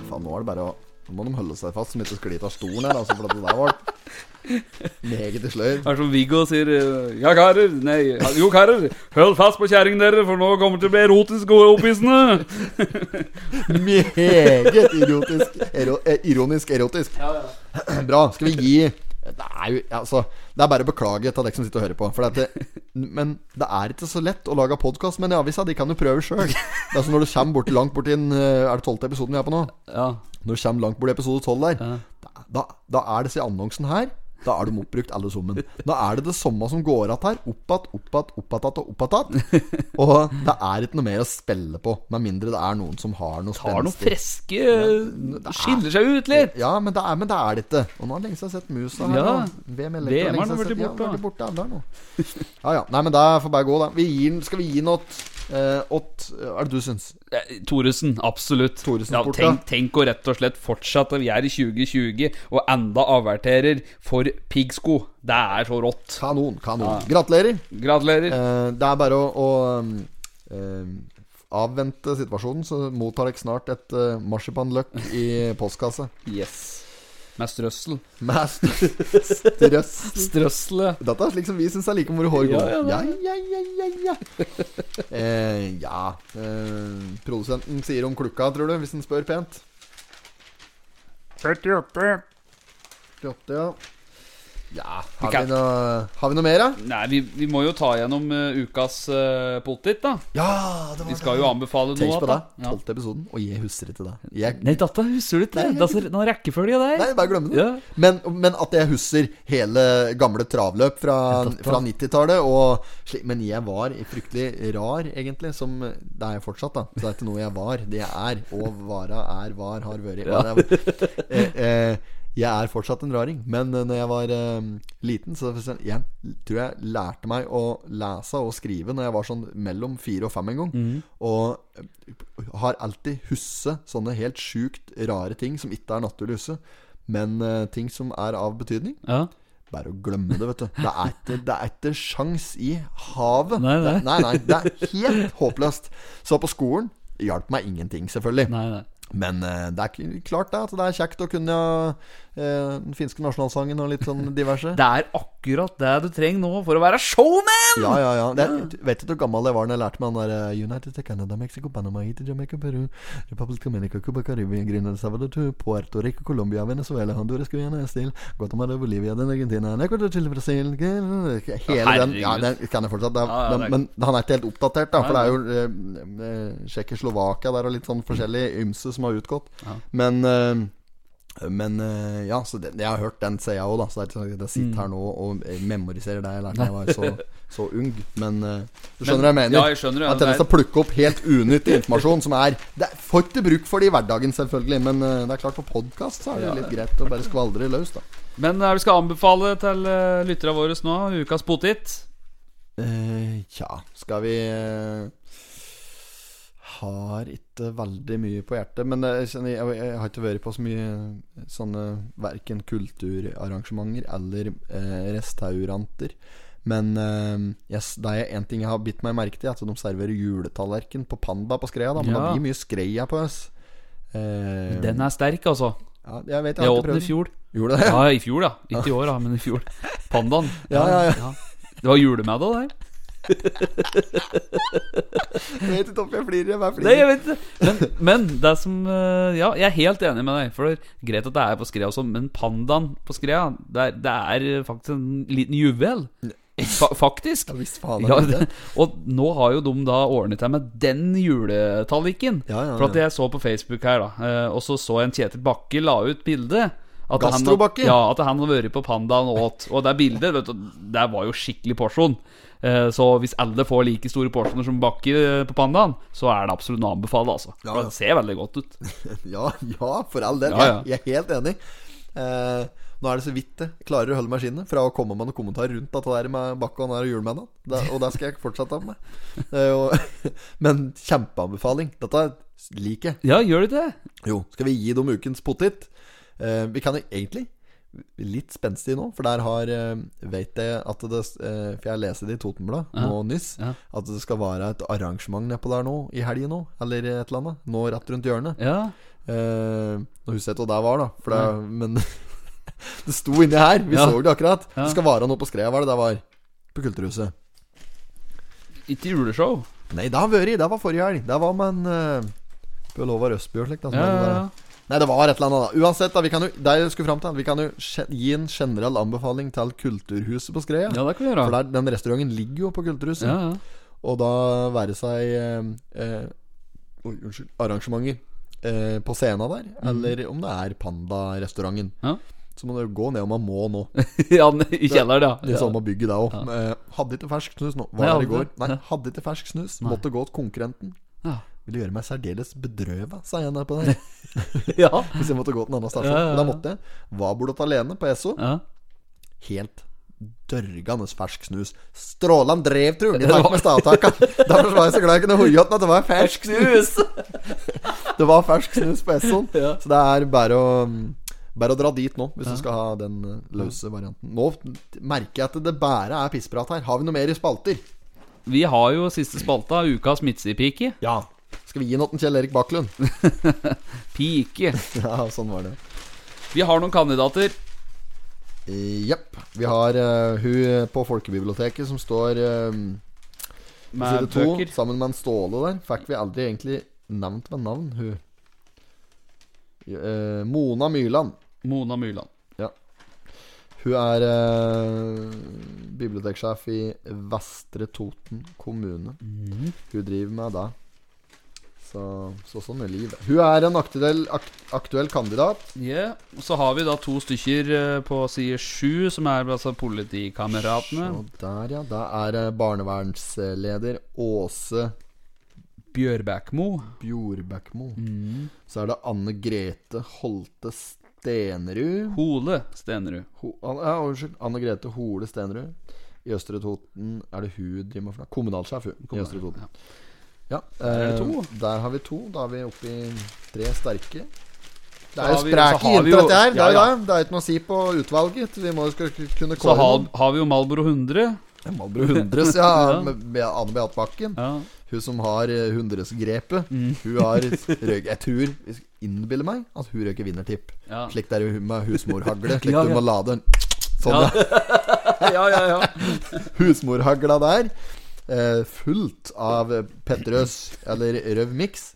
S2: Faen, nå er det bare å Nå må de holde seg fast, som ikke sklir ut av stolen her, altså, for at det der var meget i slør.
S1: Det er som Viggo sier eh, Ja, karer. Nei, jo, karer. Hold fast på kjerringen dere, for nå kommer det til å bli erotisk og opphissende.
S2: Meget erotisk, ero, eh, ironisk erotisk. Bra. Skal vi gi Det er jo altså Det er bare å beklage til dere som sitter og hører på. For det er ikke- men det er ikke så lett å lage podkast, men i avisa de kan jo prøve sjøl. Det er som når du kommer bort, langt borti den eh, Er det tolvte episoden vi er på nå?
S1: Ja.
S2: Når du kommer langt borti episode 12 der,
S1: Ja.
S2: da, da, da er disse annonsen her Da er de oppbrukt alle sammen. Da er det det samme som går att her. Opp att, opp att, opp att og opp att. Og det er ikke noe mer å spille på, med mindre det er noen som har noe
S1: Har noen
S2: spenstig.
S1: friske eh, Skiller seg ut litt.
S2: Ja, men det er, men det er det ikke. Og nå har det lenge siden jeg har sett musa her.
S1: Ja.
S2: nå.
S1: VM
S2: VM er
S1: har
S2: lenge siden
S1: vært
S2: jeg har sett-
S1: borte.
S2: Ja, vært borte der nå. Ja, ja. Nei, men det får bare gå, da. Vi gir, den- skal vi gi den åt eh, åt Hva er det du syns?
S1: Eh, Thoresen, absolutt.
S2: Thoresen
S1: ja,
S2: sport,
S1: tenk, tenk å rett og slett fortsette. Vi er i 2020 og enda averterer for piggsko. Det er så rått.
S2: Kanon, kanon. Gratulerer.
S1: Gratulerer.
S2: Eh, det er bare å, å um, eh, avvente situasjonen, så mottar dere snart et eh, marsipanløk i postkasse.
S1: Yes. Med strøssel.
S2: Med st- strøss.
S1: Strøsselet.
S2: Dette er slik som vi syns er like moro hår går.
S1: Ja,
S2: Ja, ja, ja, ja, ja. Eh, ja. Eh, produsenten sier om klukka, tror du, hvis han spør pent.
S3: 48.
S2: 38, ja. Ja,
S1: Vi
S2: har vi
S1: kan-
S2: noe, har vi noe mer, da?
S1: Nei, vi, vi må jo ta gjennom eh, ukas uh, potet, da.
S2: Ja, det
S1: Vi skal jo anbefale
S2: Tenk
S1: noe.
S2: på det.
S1: da. Ja.
S2: Tolvte episoden, og jeg husker ikke det. Jeg,
S1: Nei, dette husker du ikke.
S2: Nei, jeg-
S1: Dette er noen rekkefølge der.
S2: nei, bare glem det.
S1: Ja.
S2: Men, men at jeg husker hele gamle travløp fra, fra 90-tallet. og sli- Men jeg var fryktelig rar, egentlig. Som eh, Det er jeg fortsatt, da. Så det er ikke noe jeg var. Det jeg er. Og vara er, var, har vært. Men Jeg, eh, eh, jeg er fortsatt en raring. Men eh, når jeg var eh, liten, så så- jeg tror jeg lærte meg å lese og skrive når jeg var sånn mellom fire og fem en gang.
S1: Mhm.
S2: Og eh, har alltid husset sånne helt sjukt rare ting som ikke er naturlig husse. Men eh, ting som er av betydning.
S1: Ja.
S2: Bare å glemme det, vet du. Det er ikke, det er ikke sjans i havet.
S1: Nei, nei.
S2: Det, nei, nei, det er helt håpløst. Så på skolen hjalp meg ingenting, selvfølgelig.
S1: Nei, nei.
S2: Men eh, det er k- klart det at det er kjekt å kunne eh, den finske nasjonalsangen og litt sånn diverse.
S1: Det er akkurat det du trenger nå for å være showman!
S2: Ja, ja, ja. Det, du vet ikke hvor gammel jeg var når jeg lærte meg den der eh, United til Canada, Mexico, Panama, Haiti, Jamaica, Peru, Republic Dominica, Cuba, Caribbean, Grenada, Salvador, Puerto Rico, Colombia, Venezuela, Honduras, Guyana, Estil, Guatemala, Bolivia, den Argentina, den Ecuador, Chile, Brasil Hele den. Ja, den kan jeg fortsatt. Det er,
S1: Ja, ja, det er-
S2: men han er ikke helt oppdatert, da. For det er jo eh, eh, Tsjekkoslovakia der og litt sånn forskjellig ymse som har utgått. Men eh, Men eh, ja, så det, det jeg har hørt den ser jeg òg, da. Så det er ikke sånn at jeg sitter her
S1: Mm.
S2: nå og eh, memoriserer det jeg lærte da jeg var så, så ung. Men eh, du skjønner hva jeg mener?
S1: Ja, jeg skjønner det.
S2: At denne skal plukke opp helt unyttig informasjon som er Det er får ikke bruk for det i hverdagen, selvfølgelig. Men eh, det er klart, på podkast så er det
S1: Ja,
S2: litt greit å bare skvaldre løs, da.
S1: Men eh, vi skal anbefale til eh, lytterne våre nå ukas potet.
S2: Eh, Tja, skal vi eh, Har ikke veldig mye på hjertet. Men eh, jeg, kjenner, jeg, jeg har ikke vært på så mye eh, sånne verken kulturarrangementer eller eh, restauranter. Men eh, jeg s- det er en ting jeg har bitt meg merke til, at de serverer juletallerken på Panda på Skreia. Da, men
S1: Ja.
S2: det blir mye Skreia på oss. Eh,
S1: Den er sterk, altså.
S2: ja, jeg vet jeg,
S1: Jeg
S2: har
S1: åt
S2: ikke
S1: den i
S2: prøvd den.
S1: fjor.
S2: Gjorde det?
S1: Ja, i fjor, ja. Ikke i år, da, men i fjor. Pandaen.
S2: Ja, ja, ja.
S1: Det var julemiddag der.
S2: Jeg vet ikke om jeg flirer. Jeg bare
S1: Nei,
S2: flirer.
S1: jeg vet ikke. Men, men det som eh, Ja, jeg er helt enig med deg. For det er greit at det er på Skrea også, men pandaen på Skrea, det er, det er faktisk en liten juvel. Fa faktisk.
S2: Ja, visst faen er
S1: Ja,
S2: det det.
S1: det, og nå har jo de da ordnet seg med den juletalliken.
S2: Ja, ja,
S1: For at
S2: ja.
S1: jeg så på Facebook her, da, eh, og så så jeg en Kjetil Bakke la ut bilde. at han-
S2: Gastrobakke?
S1: Ja, at han hadde vært på Pandaen og åt. Og det bildet vet du, det var jo skikkelig porsjon. Eh, Så hvis alle får like store porsjoner som Bakke eh, på Pandaen, så er det absolutt å anbefale. Altså.
S2: Ja,
S1: For
S2: ja.
S1: det ser veldig godt ut.
S2: Ja, ja, for all del.
S1: Ja, ja.
S2: Jeg, jeg er helt enig. Eh, nå er det så vidt jeg klarer å holde meg i skinnet fra å komme med noen kommentarer rundt dette der med Bakke og han der julemennene. Det- Og det skal jeg fortsette med. Det er jo- men kjempeanbefaling. Dette liker jeg.
S1: Ja, gjør de det?
S2: Jo, skal vi gi dem ukens potet? Eh, vi kan jo egentlig Litt spenstig nå, for der har eh, Vet jeg at det eh, For jeg leste det i Totenbladet nå nyss.
S1: ja.
S2: At det skal være et arrangement nedpå der nå i helgen nå, eller et eller annet. Nå rett rundt hjørnet.
S1: Ja.
S2: Eh, Nå husker jeg ikke hva det var, da. For det, Men det sto inni her. Vi
S1: Ja.
S2: så det akkurat.
S1: Ja.
S2: Det skal være noe på Skrea, hva er det det var? På Kulturhuset.
S1: Ikke juleshow.
S2: Nei, det har vært. Det var forrige helg. Det var med en uh, Bjørlova Røsby og slikt. da, som
S1: Ja,
S2: hadde
S1: ja,
S2: det der.
S1: ja.
S2: Nei, det var et eller annet, da. Uansett, da, vi kan jo, det jeg skulle fram til, vi kan jo gen- gi en generell anbefaling til Kulturhuset på Skreia.
S1: ja, det kan vi
S2: For
S1: gjøre.
S2: der, den restauranten ligger jo på Kulturhuset.
S1: Ja, ja.
S2: Og da være seg eh, eh, oi, Unnskyld. Arrangementer eh, på scenen der, eller om det er Panda-restauranten.
S1: Mm. Ja.
S2: Så må du gå ned om man må nå.
S1: ja, I kjelleren,
S2: Det sånn.
S1: ja.
S2: samme bygget der òg. Eh, Hadde ikke fersk snus nå. Var
S1: Nei,
S2: der i går.
S1: hadde-
S2: Nei,
S1: ja.
S2: hadde ikke fersk snus. Måtte gå til konkurrenten.
S1: Ja.
S2: Ville gjøre meg særdeles bedrøva, sa jeg der på der.
S1: ja.
S2: Hvis jeg måtte gå til en annen stasjon.
S1: Ja, ja, ja.
S2: Men da måtte jeg. Var bordet alene på Esso.
S1: ja.
S2: Helt dørgende fersk snus. Strålan drev trulen i takt med stavtakene. Derfor var jeg så glad jeg kunne hoie opp at det var fersk snus. Det var fersk snus på Essoen.
S1: Ja.
S2: Så det er bare å bare å dra dit nå, hvis du skal ha den eh, løse varianten. Nå merker jeg at det bare er pissprat her. Har vi noe mer i spalter?
S1: Vi har jo siste spalta, ukas midtsidepike.
S2: Ja. Skal vi gi noe til Kjell Erik Baklund?
S1: Pike.
S2: ja, sånn var det.
S1: Vi har noen kandidater.
S2: Jepp. Vi har eh, hun på folkebiblioteket som står eh, på
S1: Med
S2: side to
S1: bøker.
S2: sammen med en Ståle der. Fikk vi aldri egentlig nevnt ved navn, hun. Eh, Mona Myrland.
S1: Mona Myrland.
S2: Hun er eh, biblioteksjef i Vestre Toten kommune.
S1: Mhm.
S2: Hun driver med det. Så, så sånn er livet. Hun er en aktuell, ak aktuell kandidat.
S1: Ja, og Så har vi da to stykker eh, på side sju, som er altså politikameratene.
S2: Og der, ja. Da er eh, barnevernsleder Åse
S1: Bjørbækmo.
S2: Bjorbækmo.
S1: Mhm.
S2: Så er det Anne Grete Holte Stenerud
S1: Hole Stenerud.
S2: Ho An- ja, Unnskyld. Anne Grete Hole Stenerud. I Østre Toten er det hun driver med for noe? Kommunalsjef, hun. I Østre Toten. Ja.
S1: er det
S2: eh,
S1: to.
S2: Der har vi to. Da er vi oppe i tre sterke. Det
S1: Så
S2: er jo
S1: har vi- så
S2: spreke
S1: har vi
S2: jenter,
S1: jo-
S2: dette her. Det
S1: Ja,
S2: er jo
S1: ja.
S2: det. Det er ikke noe å si på utvalget. Vi må jo skal kunne
S1: Så
S2: kåre
S1: har,
S2: noen.
S1: har vi jo Malboro 100.
S2: Malbro Hundres, ja.
S1: Ja.
S2: med- med Anne Beate Bakken.
S1: Ja.
S2: Hun som har eh, hundresgrepet.
S1: Mm.
S2: Hun har røyk Jeg tror, jeg innbiller meg, at hun røyker vinnertipp.
S1: Ja.
S2: Slik det er jo hun med husmorhagle. Slik
S1: Ja,
S2: du
S1: ja.
S2: må lade en Sånn,
S1: Ja.
S2: ja.
S1: ja, ja, ja.
S2: Husmorhagla der. Eh, fullt av Petterøes, eller Røv Mix.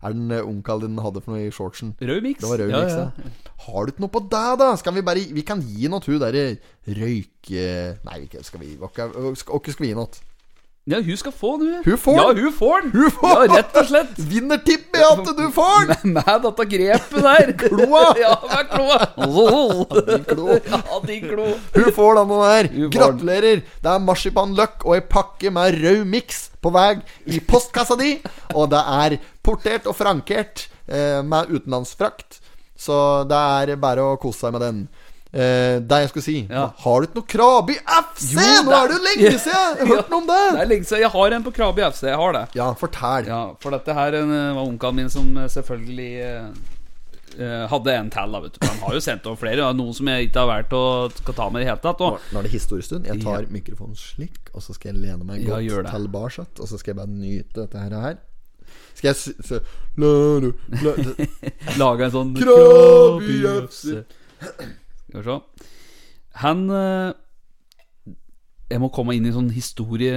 S2: Er den eh, onkelen din hadde for noe i shortsen?
S1: Rød miks.
S2: Det var rød
S1: ja,
S2: miks,
S1: ja.
S2: ja. Har du ikke noe på deg, da? Skal vi bare Vi kan gi noe til hun derre røyke... Nei, ikke skal vi Åkke skal, åkke skal vi gi noe?
S1: Ja, hun skal få den, hun.
S2: Hun får
S1: Ja,
S2: den.
S1: hun får den.
S2: Hun får
S1: Ja, rett og slett.
S2: Vinner tippet at du får
S1: Med,
S2: den!
S1: med dette grepet der.
S2: Kloa.
S1: ja, med kloa.
S2: Din klo.
S1: ja, din klo.
S2: Hun får denne der.
S1: Hun får den.
S2: Gratulerer! Det er marsipanløk og ei pakke med rød miks på vei i postkassa di. Og det er portert og frankert eh, med utenlandsfrakt. Så det er bare å kose seg med den. Eh, det jeg skulle si
S1: Ja.
S2: Har du ikke noe Krabi FC?
S1: Jo,
S2: Nå
S1: det-
S2: er det jo lenge siden! Jeg har
S1: Ja.
S2: hørt noe om det!
S1: Det er lenge siden. Jeg har en på Krabi FC. Jeg har det.
S2: Ja, fortell.
S1: Ja, for dette her eh, var onkelen min som eh, selvfølgelig eh, eh, hadde en til, da, vet du. Han har jo sendt over flere. og Noen som jeg ikke har valgt å skal ta med i det hele tatt. Og.
S2: Nå er det historiestund. Jeg tar
S1: Ja.
S2: mikrofonen slik, og så skal jeg lene meg
S1: Ja,
S2: godt
S1: gjør det.
S2: til barsatt, og så skal jeg bare nyte dette her. her. Skal jeg sy... sy- la- la- la-
S1: Laga en sånn
S2: Krabi FC.
S1: Skal vi se. Han eh, Jeg må komme inn i sånn historie...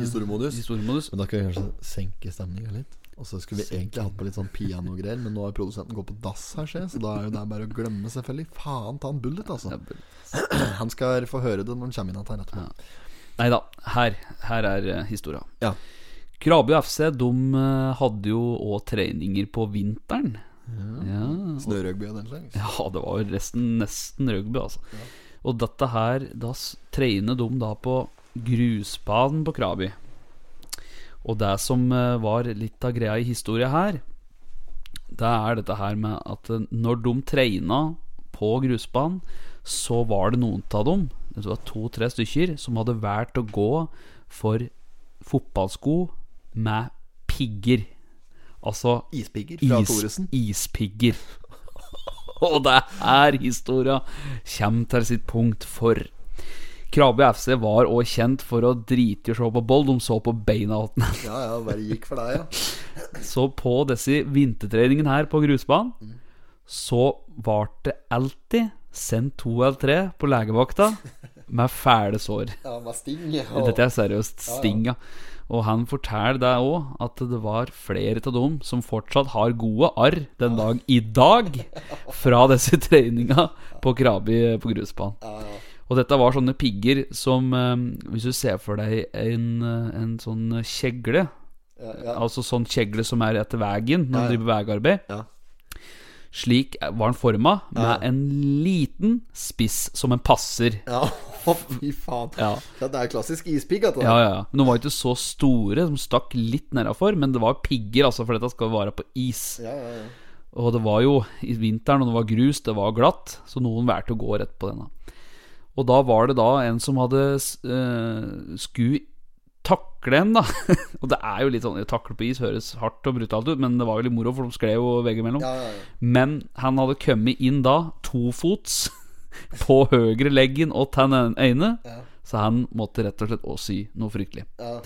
S2: Historiemodus.
S1: historiemodus.
S2: Men da kan vi kanskje senke stemninga litt. Og så skulle vi egentlig hatt på litt sånn pianogreier, men nå har produsenten gått på dass her, ser jeg, så da er jo det bare å glemme, selvfølgelig. Faen ta en bullet, altså. Han skal få høre det når han kommer inn igjen her etterpå.
S1: Nei da, her, her er eh, historia.
S2: Ja.
S1: Krabi FC de eh, hadde jo òg treninger på vinteren. Ja.
S2: Snørøgby og den slags.
S1: ja, det var jo resten nesten rugby, altså. Og dette her, da s- trener de da på grusbanen på Krabi. Og det som eh, var litt av greia i historia her, det er dette her med at eh, når de treina på grusbanen, så var det noen av dem, det var to-tre stykker, som hadde valgt å gå for fotballsko med pigger. Altså
S2: Ispigger fra Thoresen.
S1: Ispigger. Og det er her historia kommer til sitt punkt for. Krabi FC var også kjent for å drite i å se på boll. De så på beina åtten
S2: Ja ja, bare gikk for deg, ja.
S1: så på disse vintertreningene her på grusbanen, så var det alltid sendt to eller tre på legevakta med fæle sår.
S2: Ja, med sting. ja.
S1: Dette er seriøst stinga. Og han forteller deg òg at det var flere av dem som fortsatt har gode arr den dag i dag fra disse treninga på Krabi på grusbanen. Og dette var sånne pigger som eh, Hvis du ser for deg en, eh, en sånn kjegle
S2: Ja, ja.
S1: Altså sånn kjegle som er etter veien når du driver veiarbeid.
S2: Ja.
S1: Slik var den forma, med en liten spiss som en passer.
S2: Ja, å, fy faen.
S1: Ja.
S2: Ja, det er klassisk ispigg, at det
S1: Ja, ja, ja. Men De var ikke så store, de stakk litt nedafor, men det var pigger, altså, for dette skal være på is.
S2: Ja, ja, ja.
S1: Og det var jo i vinteren, og det var grus, det var glatt, så noen valgte å gå rett på denne. Og da var det da en som hadde uh, skulle takle en, da. og det er jo litt sånn Takle på is høres hardt og brutalt ut, men det var jo litt moro, for de skled jo veggimellom.
S2: Ja, ja, ja.
S1: Men han hadde kommet inn da, tofots, på høyre leggen og til den ene, så han måtte rett og slett også sy noe fryktelig.
S2: Ja.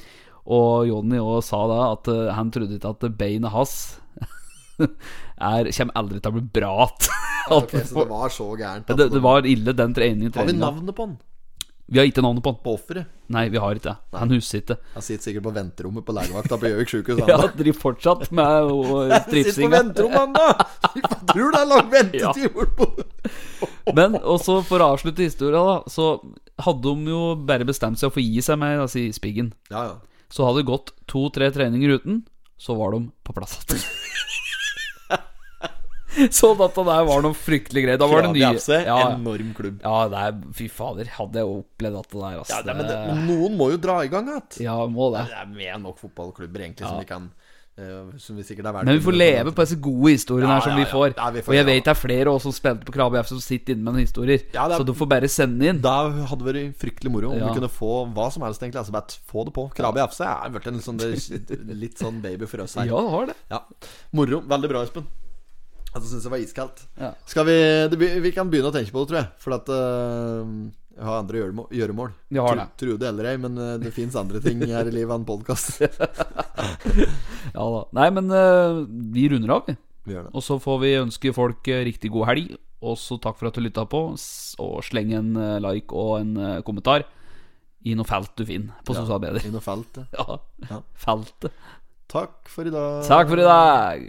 S1: Og Jonny òg sa da at eh, han trodde ikke at beinet hans er, kommer aldri til å bli bra igjen.
S2: Ok, så det var så gærent. at
S1: det, det var ille, den treningen.
S2: Har vi
S1: treningen.
S2: navnet på han?
S1: Vi har ikke navnet på han.
S2: På offeret?
S1: Nei, vi har ikke det. Han husker ikke.
S2: Han sitter sikkert på venterommet på legevakta på Gjøvik sjukehus.
S1: Ja, driver fortsatt med eh,
S2: Sitt på
S1: stripsinga.
S2: venterommet, han, da! Fy faen, Tror det er lang ventetid bortpå
S1: Men også for å avslutte historia, da, så hadde de jo bare bestemt seg for å gi seg med altså, ispiggen.
S2: Ja, ja.
S1: Så hadde det gått to-tre treninger uten, så var de på plass igjen. så dette der var noe fryktelig greit. Da var det nye. Ja, ja.
S2: enorm klubb.
S1: ja det er, fy fader, hadde jeg opplevd dette der, altså.
S2: Ja, det, men, det, men noen må jo dra i gang igjen.
S1: Ja, må det.
S2: Det er mer nok fotballklubber egentlig som vi kan eh, Som vi sikkert er verdt
S1: Men vi får leve på disse gode historiene her
S2: Ja,
S1: som
S2: ja,
S1: vi
S2: ja.
S1: får.
S2: Ja, vi får-
S1: Og jeg
S2: ja.
S1: vet det er flere også som spilte på Krabe F som sitter inne med noen historier.
S2: Ja, det er-
S1: Så du får bare sende inn.
S2: Da hadde det vært fryktelig moro om
S1: Ja.
S2: vi kunne få hva som helst, egentlig. Altså bare få det på. Krabi FC er blitt en sånn, litt sånn baby for oss her.
S1: Ja, det har det.
S2: Ja. Moro. Veldig bra, Espen. Altså, syns det var iskaldt.
S1: Ja.
S2: Skal vi det, be- Vi kan begynne å tenke på det, tror jeg. For at øh, jeg har andre gjøremo- gjøremål.
S1: Vi har
S2: Tru-
S1: det.
S2: Tro det eller ei, men øh, det fins andre ting her i livet enn podkast.
S1: Ja da. Nei, men eh, vi runder av, vi.
S2: Vi gjør det.
S1: Og så får vi ønske folk eh, riktig god helg. Og så takk for at du lytta på. S- Og sleng en eh, like og en eh, kommentar i noe felt du finner på sosiale medier.
S2: I noe felt. ja.
S1: Ja.
S2: Ja.
S1: Feltet.
S2: Takk for i dag.
S1: Takk for i dag.